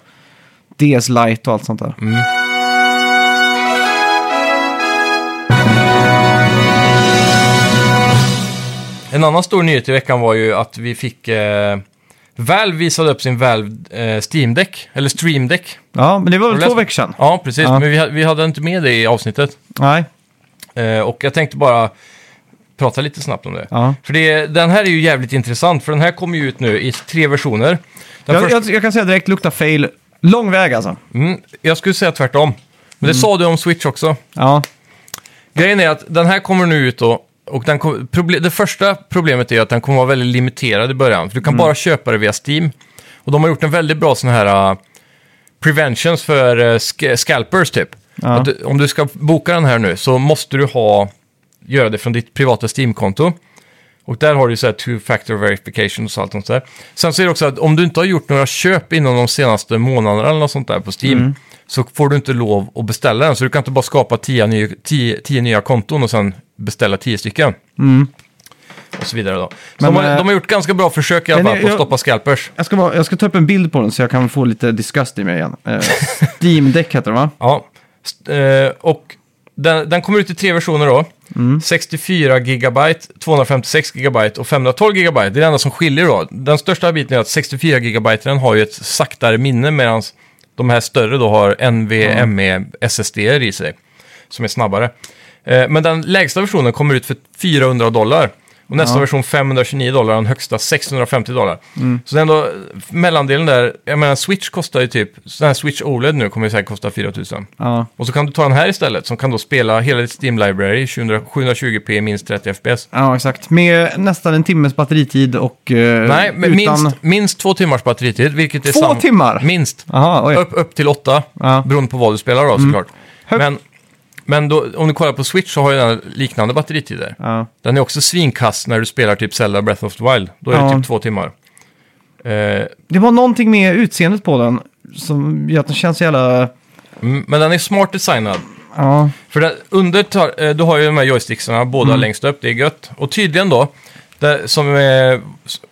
Speaker 1: DS Lite och allt sånt där.
Speaker 2: Mm. En annan stor nyhet i veckan var ju att vi fick... Eh, Valve visade upp sin Valve eh, Steam Deck, eller Stream Deck.
Speaker 1: Ja, men det var
Speaker 2: Har
Speaker 1: väl
Speaker 2: du
Speaker 1: två
Speaker 2: läst-
Speaker 1: veckor sedan?
Speaker 2: Ja, precis.
Speaker 1: Ja.
Speaker 2: Men vi, ha- vi hade inte med det i avsnittet.
Speaker 1: Nej.
Speaker 2: Eh, och jag tänkte bara prata lite snabbt om det.
Speaker 1: Ja.
Speaker 2: För det, den här är ju jävligt intressant, för den här kommer ju ut nu i tre versioner. Den
Speaker 1: Jag,
Speaker 2: första-
Speaker 1: jag, jag kan säga direkt, lukta fail. Lång väg alltså.
Speaker 2: Mm, jag skulle säga tvärtom. Men det sa du om Switch också.
Speaker 1: Ja,
Speaker 2: Grejen är att den här kommer nu ut då, och den kom, proble- det första problemet är att den kommer vara väldigt limiterad i början. För du kan bara köpa det via Steam. Och de har gjort en väldigt bra sån här äh, preventions för äh, sk- scalpers typ.
Speaker 1: Ja.
Speaker 2: Att du, om du ska boka den här nu så måste du ha, göra det från ditt privata Steam-konto. Och där har du så här two-factor verification och så allt sånt där. Sen så är det också att om du inte har gjort några köp inom de senaste månaderna eller något sånt där på Steam
Speaker 1: Mm.
Speaker 2: så får du inte lov att beställa den. Så du kan inte bara skapa tio, ny, tio, tio nya konton och sen beställa tio stycken. Och så vidare då. Så
Speaker 1: Mm. Men,
Speaker 2: de, har,
Speaker 1: eh,
Speaker 2: de har gjort ganska bra försök i alla
Speaker 1: men
Speaker 2: fall på att
Speaker 1: jag-
Speaker 2: stoppa scalpers.
Speaker 1: jag ska, bara, jag ska ta upp en bild på den så jag kan få lite disgust i mig igen. Eh, Steam Deck heter den va?
Speaker 2: Ja. St- eh, och den, den kommer ut i tre versioner då. 64 GB, 256 GB och 512 GB. Det är det enda som skiljer då. Den största biten är att 64 GB har ju ett saktare minne medan de här större då har NVMe SSD i sig som är snabbare. Eh, men den lägsta versionen kommer ut för 400 dollar. Och nästa version 529 dollar, den högsta 650 dollar.
Speaker 1: Mm.
Speaker 2: Så det är ändå mellandelen där, jag menar Switch kostar ju typ, den här Switch OLED nu kommer ju säkert kosta 4000.
Speaker 1: Ja.
Speaker 2: Och så kan du ta den här istället som kan då spela hela ditt Steam Library 700 720p minst 30 FPS.
Speaker 1: ja, exakt. Med nästan en timmes batteritid och eh,
Speaker 2: Nej, men
Speaker 1: utan...
Speaker 2: minst, minst två timmars batteritid, vilket är
Speaker 1: Två
Speaker 2: samma-
Speaker 1: timmar?
Speaker 2: Minst.
Speaker 1: Jaha, oj.
Speaker 2: Upp, upp till åtta,
Speaker 1: Ja. Mm.
Speaker 2: beroende på vad du spelar då såklart.
Speaker 1: Högt.
Speaker 2: Men, men då, om du kollar på Switch så har ju den här liknande batteritider.
Speaker 1: Ja.
Speaker 2: Den är också svinkass när du spelar typ Zelda Breath of the Wild. Då är det
Speaker 1: Ja.
Speaker 2: typ två timmar. Eh,
Speaker 1: Det var någonting med utseendet på den som gör att den känns så jävla...
Speaker 2: mm, men den är smart designad.
Speaker 1: Ja,
Speaker 2: För det, under, tar, eh, du har ju de här joysticksarna, båda
Speaker 1: Mm.
Speaker 2: längst upp, det är gött. Och tydligen då, det, som är,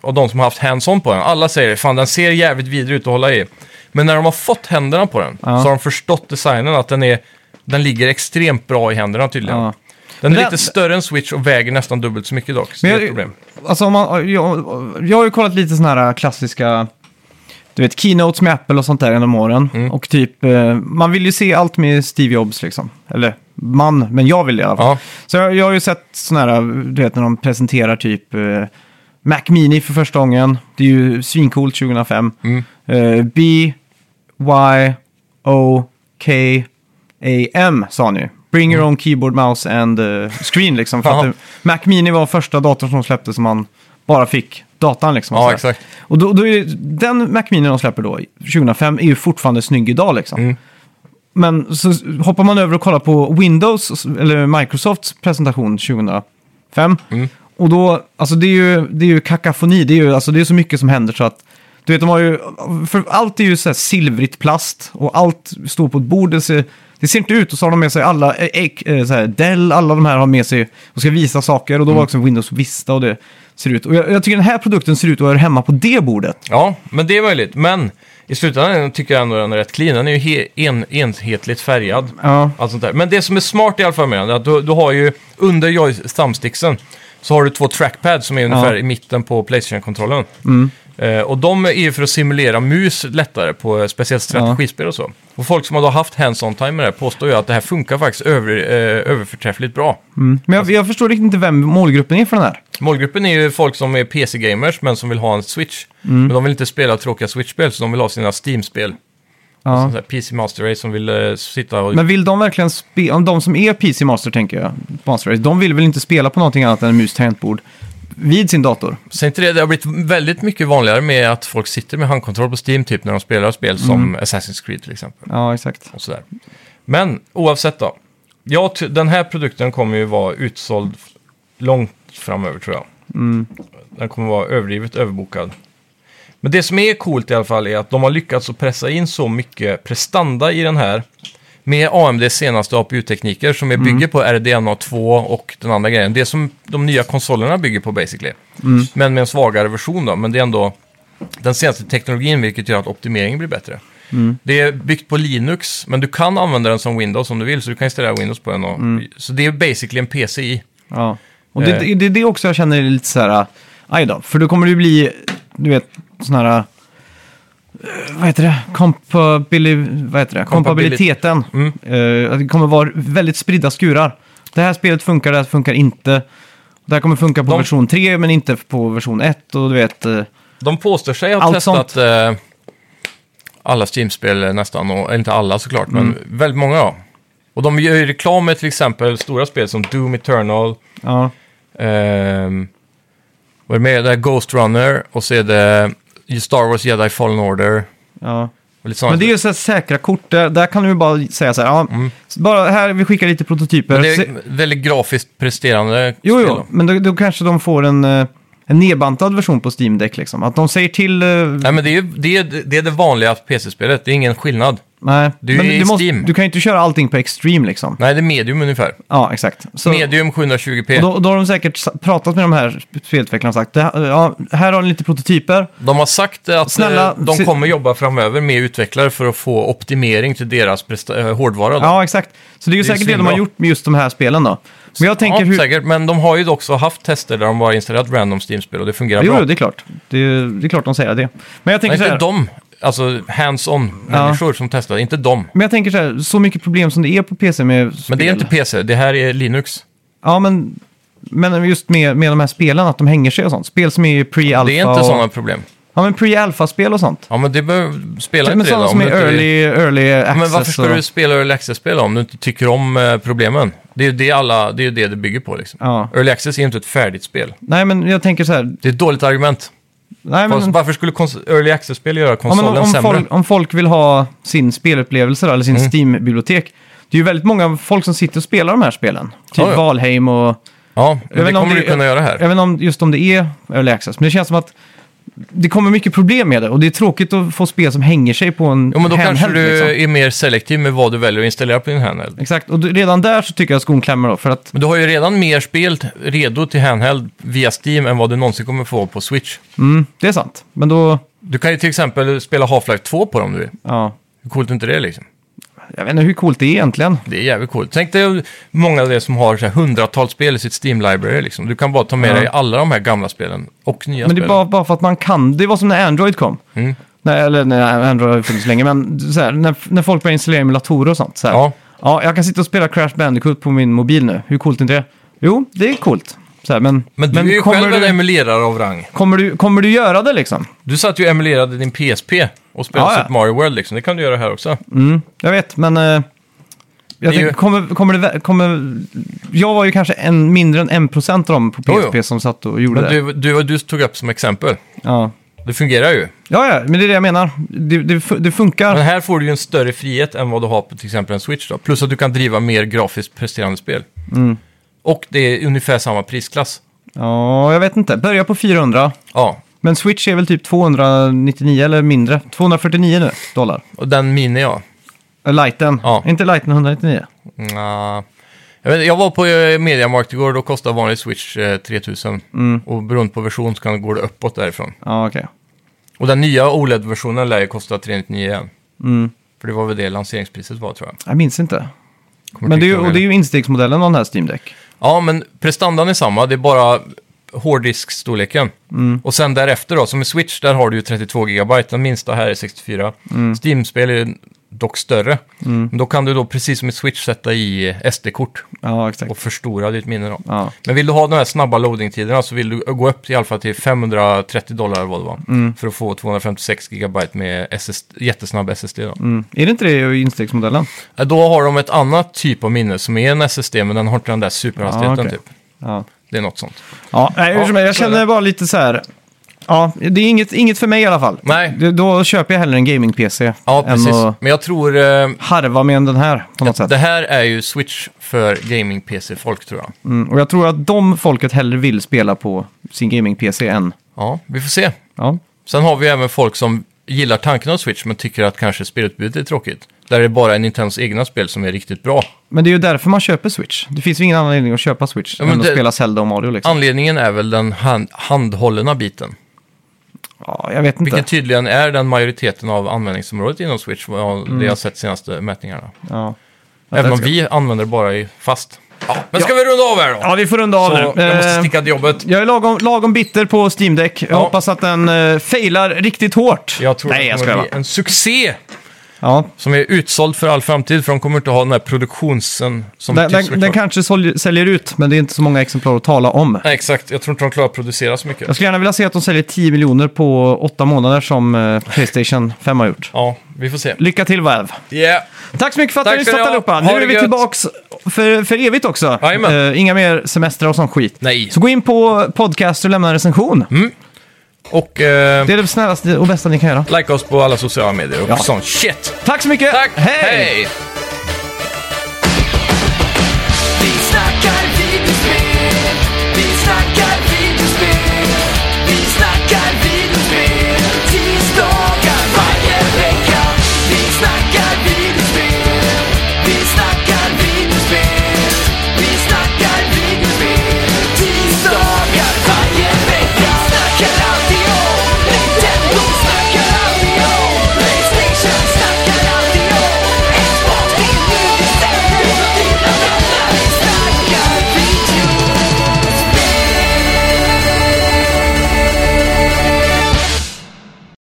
Speaker 2: av de som har haft hands-on på den, alla säger fan den ser jävligt vidrig ut att hålla i. Men när de har fått händerna på den så har de förstått designen att den, är, den ligger extremt bra i händerna tydligen.
Speaker 1: ja.
Speaker 2: Den är
Speaker 1: Men
Speaker 2: lite
Speaker 1: den-
Speaker 2: större än Switch och väger nästan dubbelt så mycket dock. Så
Speaker 1: Men
Speaker 2: det är
Speaker 1: jag-
Speaker 2: ett problem.
Speaker 1: Alltså om man, jag, jag har ju kollat lite sådana här klassiska, du vet, keynotes med Apple och sånt där genom åren.
Speaker 2: Mm.
Speaker 1: Och typ, eh, man vill ju se allt med Steve Jobs liksom. Eller man, men jag vill det i alla fall.
Speaker 2: Ja.
Speaker 1: Så jag, jag har ju sett sådana här, du vet när de presenterar typ eh, Mac Mini för första gången. Det är ju svincoolt 2005.
Speaker 2: Mm.
Speaker 1: Eh, B, Y, O, K, A, M sa han ju. Bring
Speaker 2: Mm.
Speaker 1: your own keyboard, mouse and eh, screen liksom. För att
Speaker 2: Ja.
Speaker 1: det- Mac Mini var första datorn som släpptes som man bara fick datan liksom. och
Speaker 2: Ja,
Speaker 1: sådär.
Speaker 2: exakt.
Speaker 1: Och då, då är ju- den Mac Mini de släpper då, 2005, är ju fortfarande snygg idag liksom.
Speaker 2: Mm.
Speaker 1: Men så hoppar man över och kollar på Windows, eller Microsofts presentation 2005. Och då, alltså det är ju, det är ju kakafoni, det är ju alltså det är så mycket som händer så att du vet, de har ju, för allt är ju så här silvrigt plast och allt står på ett bord. Det ser, det ser inte ut och så har de med sig alla, eh, ek- eh, så här, Dell, alla de här har med sig och ska visa saker och då var också Windows Vista och det ser ut. Och jag, jag tycker den här produkten ser ut att höra hemma på det bordet.
Speaker 2: Ja, men det är möjligt. Men i slutändan tycker jag ändå den är rätt clean. Den är ju he- en, enhetligt färgad.
Speaker 1: Ja,
Speaker 2: Allt sånt där. Men det som är smart i alla fall med den, är att du, du har ju under joy- thumbsticksen så har du två trackpads som är ungefär i mitten på Playstation-kontrollen. Eh, och de är ju för att simulera mus lättare på eh, speciellt strategispel och så. Och folk som har då haft hands-on time med det här påstår ju att det här funkar faktiskt över, eh, överförträffligt bra.
Speaker 1: Mm. Men jag, jag förstår riktigt inte vem målgruppen är för den här.
Speaker 2: Målgruppen är ju folk som är PC-gamers men som vill ha en Switch.
Speaker 1: Mm.
Speaker 2: Men de vill inte spela tråkiga Switch-spel så de vill ha sina Steam-spel.
Speaker 1: Ja.
Speaker 2: Sån här PC Master Race som vill eh, sitta och...
Speaker 1: Men vill de verkligen spela, om de som är PC Master tänker jag, Master Race, de vill väl inte spela på någonting annat än en mus tangentbord vid sin dator?
Speaker 2: Säg inte det, det har blivit väldigt mycket vanligare med att folk sitter med handkontroll på Steam typ när de spelar spel
Speaker 1: Mm.
Speaker 2: som Assassin's Creed till exempel.
Speaker 1: Ja, exakt.
Speaker 2: Och sådär. Men oavsett då. Jag ty- den här produkten kommer ju vara utsåld långt framöver tror jag. Den kommer vara överdrivet överbokad. Men det som är coolt i alla fall är att de har lyckats att pressa in så mycket prestanda i den här. Med AMDs senaste APU-tekniker som är bygger på RDNA 2 och den andra grejen. Det som de nya konsolerna bygger på basically. Men med en svagare version då. Men det är ändå den senaste teknologin vilket gör att optimeringen blir bättre.
Speaker 1: Mm.
Speaker 2: Det är byggt på Linux, men du kan använda den som Windows om du vill. Så du kan installera Windows på den. Och,
Speaker 1: Mm.
Speaker 2: Så det är basically en PCI.
Speaker 1: Ja. Och det, det, det är det också jag känner är lite så här, aj då, för då kommer det ju bli, du vet, sån här, eh, vad heter det, Compabili- vad heter det? kompabiliteten.
Speaker 2: Mm.
Speaker 1: Eh, att det kommer vara väldigt spridda skurar. Det här spelet funkar, det här funkar inte. Det här kommer funka på
Speaker 2: De-
Speaker 1: version 3 men inte på version 1 och du vet... eh,
Speaker 2: De påstår sig ha
Speaker 1: Allt
Speaker 2: testat eh, alla Steam-spel eh, nästan, och, eller inte alla såklart,
Speaker 1: Mm.
Speaker 2: men väldigt många. Ja. Och de gör ju reklam med till exempel stora spel som Doom Eternal,
Speaker 1: Ja,
Speaker 2: ehm, vad är det mer? Det är Ghost Runner och så är det Star Wars Jedi Fallen Order.
Speaker 1: ja.
Speaker 2: Och lite sånt.
Speaker 1: Men det är ju så här säkra kort, där, där kan du ju bara säga så här, ja, bara här, vi skickar lite prototyper.
Speaker 2: Mm. det
Speaker 1: Se-
Speaker 2: är väldigt grafiskt presterande
Speaker 1: Jo,
Speaker 2: spel.
Speaker 1: jo,
Speaker 2: då.
Speaker 1: men då, då kanske de får en, eh, en nedbantad version på Steam Deck liksom. Att de säger till... eh,
Speaker 2: Nej, men det är, ju- det, är, det är det vanliga PC-spelet, det är ingen skillnad.
Speaker 1: nej,
Speaker 2: du är
Speaker 1: men
Speaker 2: i
Speaker 1: du, måste,
Speaker 2: Steam.
Speaker 1: du kan ju inte köra allting på Extreme liksom.
Speaker 2: Nej, det är medium ungefär.
Speaker 1: Ja, exakt. Så,
Speaker 2: Medium
Speaker 1: och
Speaker 2: 720p.
Speaker 1: då, då har de säkert sa- pratat med de här sp- spelutvecklarna och sagt, "Det här- eh, ja, här har ni lite prototyper.
Speaker 2: De har sagt att eh,
Speaker 1: Snälla,
Speaker 2: de
Speaker 1: se-
Speaker 2: kommer jobba framöver med utvecklare för att få optimering till deras presta- eh, hårdvara. Då.
Speaker 1: Ja, exakt. Så det är ju
Speaker 2: Det är
Speaker 1: säkert det de har
Speaker 2: svinbra.
Speaker 1: gjort med just de här spelen då. Men jag tänker
Speaker 2: ja,
Speaker 1: hur...
Speaker 2: säkert. Men de har ju också haft tester där de bara installerat random Steam-spel och det fungerar
Speaker 1: Jo,
Speaker 2: bra.
Speaker 1: jo, det är klart. Det är, det är klart de säger det. Men jag tänker
Speaker 2: Nej,
Speaker 1: så
Speaker 2: inte
Speaker 1: här...
Speaker 2: de, alltså hands-on
Speaker 1: Ja.
Speaker 2: människor som testar, inte de.
Speaker 1: Men jag tänker så här, så mycket problem som det är på PC med spel.
Speaker 2: Men det är inte PC, det här är Linux.
Speaker 1: Ja, men, men just med, med de här spelen, att de hänger sig och sånt. Spel som är pre-alpha.
Speaker 2: Det är inte
Speaker 1: och,
Speaker 2: sådana problem.
Speaker 1: Ja, men pre-alpha-spel och sånt.
Speaker 2: Ja, men det behöver spela
Speaker 1: men
Speaker 2: inte det
Speaker 1: Typ sådana
Speaker 2: då,
Speaker 1: som
Speaker 2: om
Speaker 1: är
Speaker 2: det inte
Speaker 1: early, early access.
Speaker 2: Men varför ska
Speaker 1: och,
Speaker 2: du spela Early Access-spel om du inte tycker om eh, problemen? Det är ju det, alla, det, är ju det det bygger på. Liksom.
Speaker 1: Ja.
Speaker 2: Early Access är ju inte ett färdigt spel.
Speaker 1: Nej, men jag tänker så här...
Speaker 2: Det är ett dåligt argument.
Speaker 1: Nej,
Speaker 2: Fast
Speaker 1: men,
Speaker 2: Varför skulle kons- Early Access-spel göra
Speaker 1: ja,
Speaker 2: konsolen
Speaker 1: men om, om,
Speaker 2: sämre? Mm.
Speaker 1: folk, om folk vill ha sin spelupplevelse då, eller sin Steam-bibliotek. Det är ju väldigt många folk som sitter och spelar de här spelen. Typ
Speaker 2: Ja, ja.
Speaker 1: Valheim och...
Speaker 2: Ja,
Speaker 1: vet
Speaker 2: det
Speaker 1: inte om
Speaker 2: kommer
Speaker 1: det-
Speaker 2: du kunna göra här.
Speaker 1: Även om just om det är early access. Men det känns som att det kommer mycket problem med det. Och det är tråkigt att få spel som hänger sig på en
Speaker 2: Jo, men då kanske
Speaker 1: handheld,
Speaker 2: du
Speaker 1: liksom.
Speaker 2: är mer selektiv med vad du väljer att installera på din handheld.
Speaker 1: Exakt, och du- redan där så tycker jag skon klämmer då, för att
Speaker 2: Men du har ju redan mer spel t- redo till handheld via Steam än vad du någonsin kommer få på Switch.
Speaker 1: mm, det är sant. Men då,
Speaker 2: Du kan ju till exempel spela Half-Life 2 på dem om du vill.
Speaker 1: ja,
Speaker 2: Hur coolt är inte det liksom?
Speaker 1: jag vet inte hur coolt det är egentligen.
Speaker 2: Det är jävligt coolt. Tänk dig många av det som har så här, hundratals spel i sitt Steam-library. Liksom. Du kan bara ta med
Speaker 1: Ja.
Speaker 2: dig alla de här gamla spelen och nya
Speaker 1: Men det är
Speaker 2: spelen.
Speaker 1: bara, bara för att man kan, det var som när Android kom.
Speaker 2: Mm.
Speaker 1: Nej, eller nej, Android har ju funnits länge, men så här, när, när folk började installera emulatorer och sånt. Så här,
Speaker 2: Ja.
Speaker 1: ja, jag kan sitta och spela Crash Bandicoot på min mobil nu, hur coolt är inte det? Jo, det är coolt. Så här, men
Speaker 2: Men du är ju
Speaker 1: kommer,
Speaker 2: själv en
Speaker 1: du,
Speaker 2: emulerare av rang.
Speaker 1: kommer, du, kommer du göra det liksom?
Speaker 2: Du satt ju och emulerade din PSP och spelade
Speaker 1: Ja, ja.
Speaker 2: Super Mario World liksom. Det kan du göra här också.
Speaker 1: Mm, jag vet, men... eh, jag
Speaker 2: är
Speaker 1: tänker,
Speaker 2: ju-
Speaker 1: kommer, kommer det, vä- kommer, jag var ju kanske en, mindre än 1% av dem på PSP
Speaker 2: Jo, jo.
Speaker 1: som satt och gjorde
Speaker 2: Men
Speaker 1: det.
Speaker 2: du, du, du tog upp som exempel.
Speaker 1: Ja.
Speaker 2: Det fungerar ju.
Speaker 1: ja, ja, men det är det jag menar. Det, det, fu- det funkar.
Speaker 2: Men här får du ju en större frihet än vad du har på till exempel en Switch. Då. Plus att du kan driva mer grafiskt presterande spel.
Speaker 1: Mm.
Speaker 2: Och det är ungefär samma prisklass.
Speaker 1: Ja, jag vet inte. Börja på 400.
Speaker 2: Ja,
Speaker 1: Men Switch är väl typ 299 eller mindre. 249 nu, dollar.
Speaker 2: och den mini ja.
Speaker 1: Eh, Lighten.
Speaker 2: Ja.
Speaker 1: Är inte Lighten 199?
Speaker 2: Nja. Mm, Jag, vet, inte, jag var på eh, Mediamarkt igår, då kostar vanlig Switch eh, 3000.
Speaker 1: Mm.
Speaker 2: Och beroende på version så kan, går det uppåt därifrån.
Speaker 1: Ja, okej.
Speaker 2: Och den nya OLED-versionen lär ju kosta 399 igen.
Speaker 1: Mm.
Speaker 2: För det var väl det lanseringspriset var tror jag.
Speaker 1: Jag minns inte. Men
Speaker 2: Kommer
Speaker 1: det är,
Speaker 2: inte
Speaker 1: ju,
Speaker 2: ihåg
Speaker 1: och det är ju instegsmodellen av den här Steam Deck.
Speaker 2: Ja, men prestandan är samma, det är bara hårddiskstorleken.
Speaker 1: Mm.
Speaker 2: Och sen därefter då, som i Switch, där har du ju 32 GB. Den minsta här är 64.
Speaker 1: Mm.
Speaker 2: Steam-spel är ju dock större. Men då kan du då, precis som i Switch, sätta i SD-kort
Speaker 1: Ja, exakt.
Speaker 2: och förstora ditt minne då.
Speaker 1: Ja.
Speaker 2: Men vill du ha de här snabba loading-tiderna så vill du gå upp till, i alla fall till 530 dollar vad det var.
Speaker 1: Mm.
Speaker 2: För att få 256 GB med SS, jättesnabb SSD då.
Speaker 1: Mm. Är det inte det i instegsmodellen?
Speaker 2: Eh, Då har de ett annat typ av minne som är en SSD, men den har inte den där superhastigheten
Speaker 1: Ah, okej.
Speaker 2: typ.
Speaker 1: Ja.
Speaker 2: Det är något sånt.
Speaker 1: Ja, nej, hur som helst, jag
Speaker 2: så är det.
Speaker 1: känner bara lite så här. Ja, det är inget, inget för mig i alla fall.
Speaker 2: Nej.
Speaker 1: Det- Då köper jag hellre en gaming-PC
Speaker 2: Ja,
Speaker 1: än
Speaker 2: precis.
Speaker 1: att
Speaker 2: Men jag tror... eh,
Speaker 1: harva med den här på något sätt.
Speaker 2: Det här är ju Switch för gaming-PC-folk tror jag.
Speaker 1: Mm. Och jag tror att de folket hellre vill spela på sin gaming-PC än...
Speaker 2: Ja, vi får se.
Speaker 1: Ja,
Speaker 2: Sen har vi även folk som gillar tanken av Switch men tycker att kanske spelutbudet är tråkigt. Där är det bara Nintendos egna spel som är riktigt bra.
Speaker 1: Men det är ju därför man köper Switch. Det finns ju ingen anledning att köpa Switch
Speaker 2: Ja, men
Speaker 1: än att
Speaker 2: det-
Speaker 1: spela Zelda och Mario liksom.
Speaker 2: Anledningen är väl den hand handhållna biten.
Speaker 1: Ja, jag vet inte.
Speaker 2: Vilket tydligen är den majoriteten av användningsområdet inom Switch, vad det jag har sett senaste mätningarna.
Speaker 1: Mm. Ja.
Speaker 2: Även
Speaker 1: det
Speaker 2: om
Speaker 1: ska-
Speaker 2: vi använder det bara i fast. Ja, men ska vi runda av här då?
Speaker 1: ja, vi får runda av
Speaker 2: Så
Speaker 1: nu.
Speaker 2: jag måste
Speaker 1: Eh,
Speaker 2: sticka till jobbet.
Speaker 1: jag är lagom, lagom bitter på Steam Deck. Jag
Speaker 2: Ja.
Speaker 1: hoppas att den eh, failar riktigt hårt.
Speaker 2: Jag tror
Speaker 1: Nej, jag
Speaker 2: det kommer
Speaker 1: skojar
Speaker 2: bli en succé
Speaker 1: Ja,
Speaker 2: som är utsåld för all framtid, för de kommer inte ha den här produktionen som
Speaker 1: den,
Speaker 2: tycks
Speaker 1: den, den kanske sålj- säljer ut, men det är inte så många exemplar att tala om.
Speaker 2: Nej, exakt. Jag tror inte de klarar att producera så mycket.
Speaker 1: Jag skulle gärna vilja se att de säljer 10 miljoner på 8 månader som eh, Playstation 5 har gjort.
Speaker 2: Ja, vi får se.
Speaker 1: Lycka till Valve!
Speaker 2: Yeah.
Speaker 1: Tack så mycket för att
Speaker 2: Tack
Speaker 1: ni har
Speaker 2: ska ni
Speaker 1: lyssnat
Speaker 2: ha.
Speaker 1: allihopa. Nu
Speaker 2: Ha det
Speaker 1: är vi
Speaker 2: gött.
Speaker 1: tillbaks för, för evigt också.
Speaker 2: Jajamän.
Speaker 1: Eh, inga mer semestrar och sån skit.
Speaker 2: Nej. Mm.
Speaker 1: Så gå in på podcast och lämna en recension.
Speaker 2: Och eh,
Speaker 1: Det är det snällaste och bästa ni kan göra.
Speaker 2: like oss på alla sociala medier och
Speaker 1: Ja.
Speaker 2: sånt shit.
Speaker 1: Tack så mycket!
Speaker 2: Tack!
Speaker 1: Hej!
Speaker 2: Hej.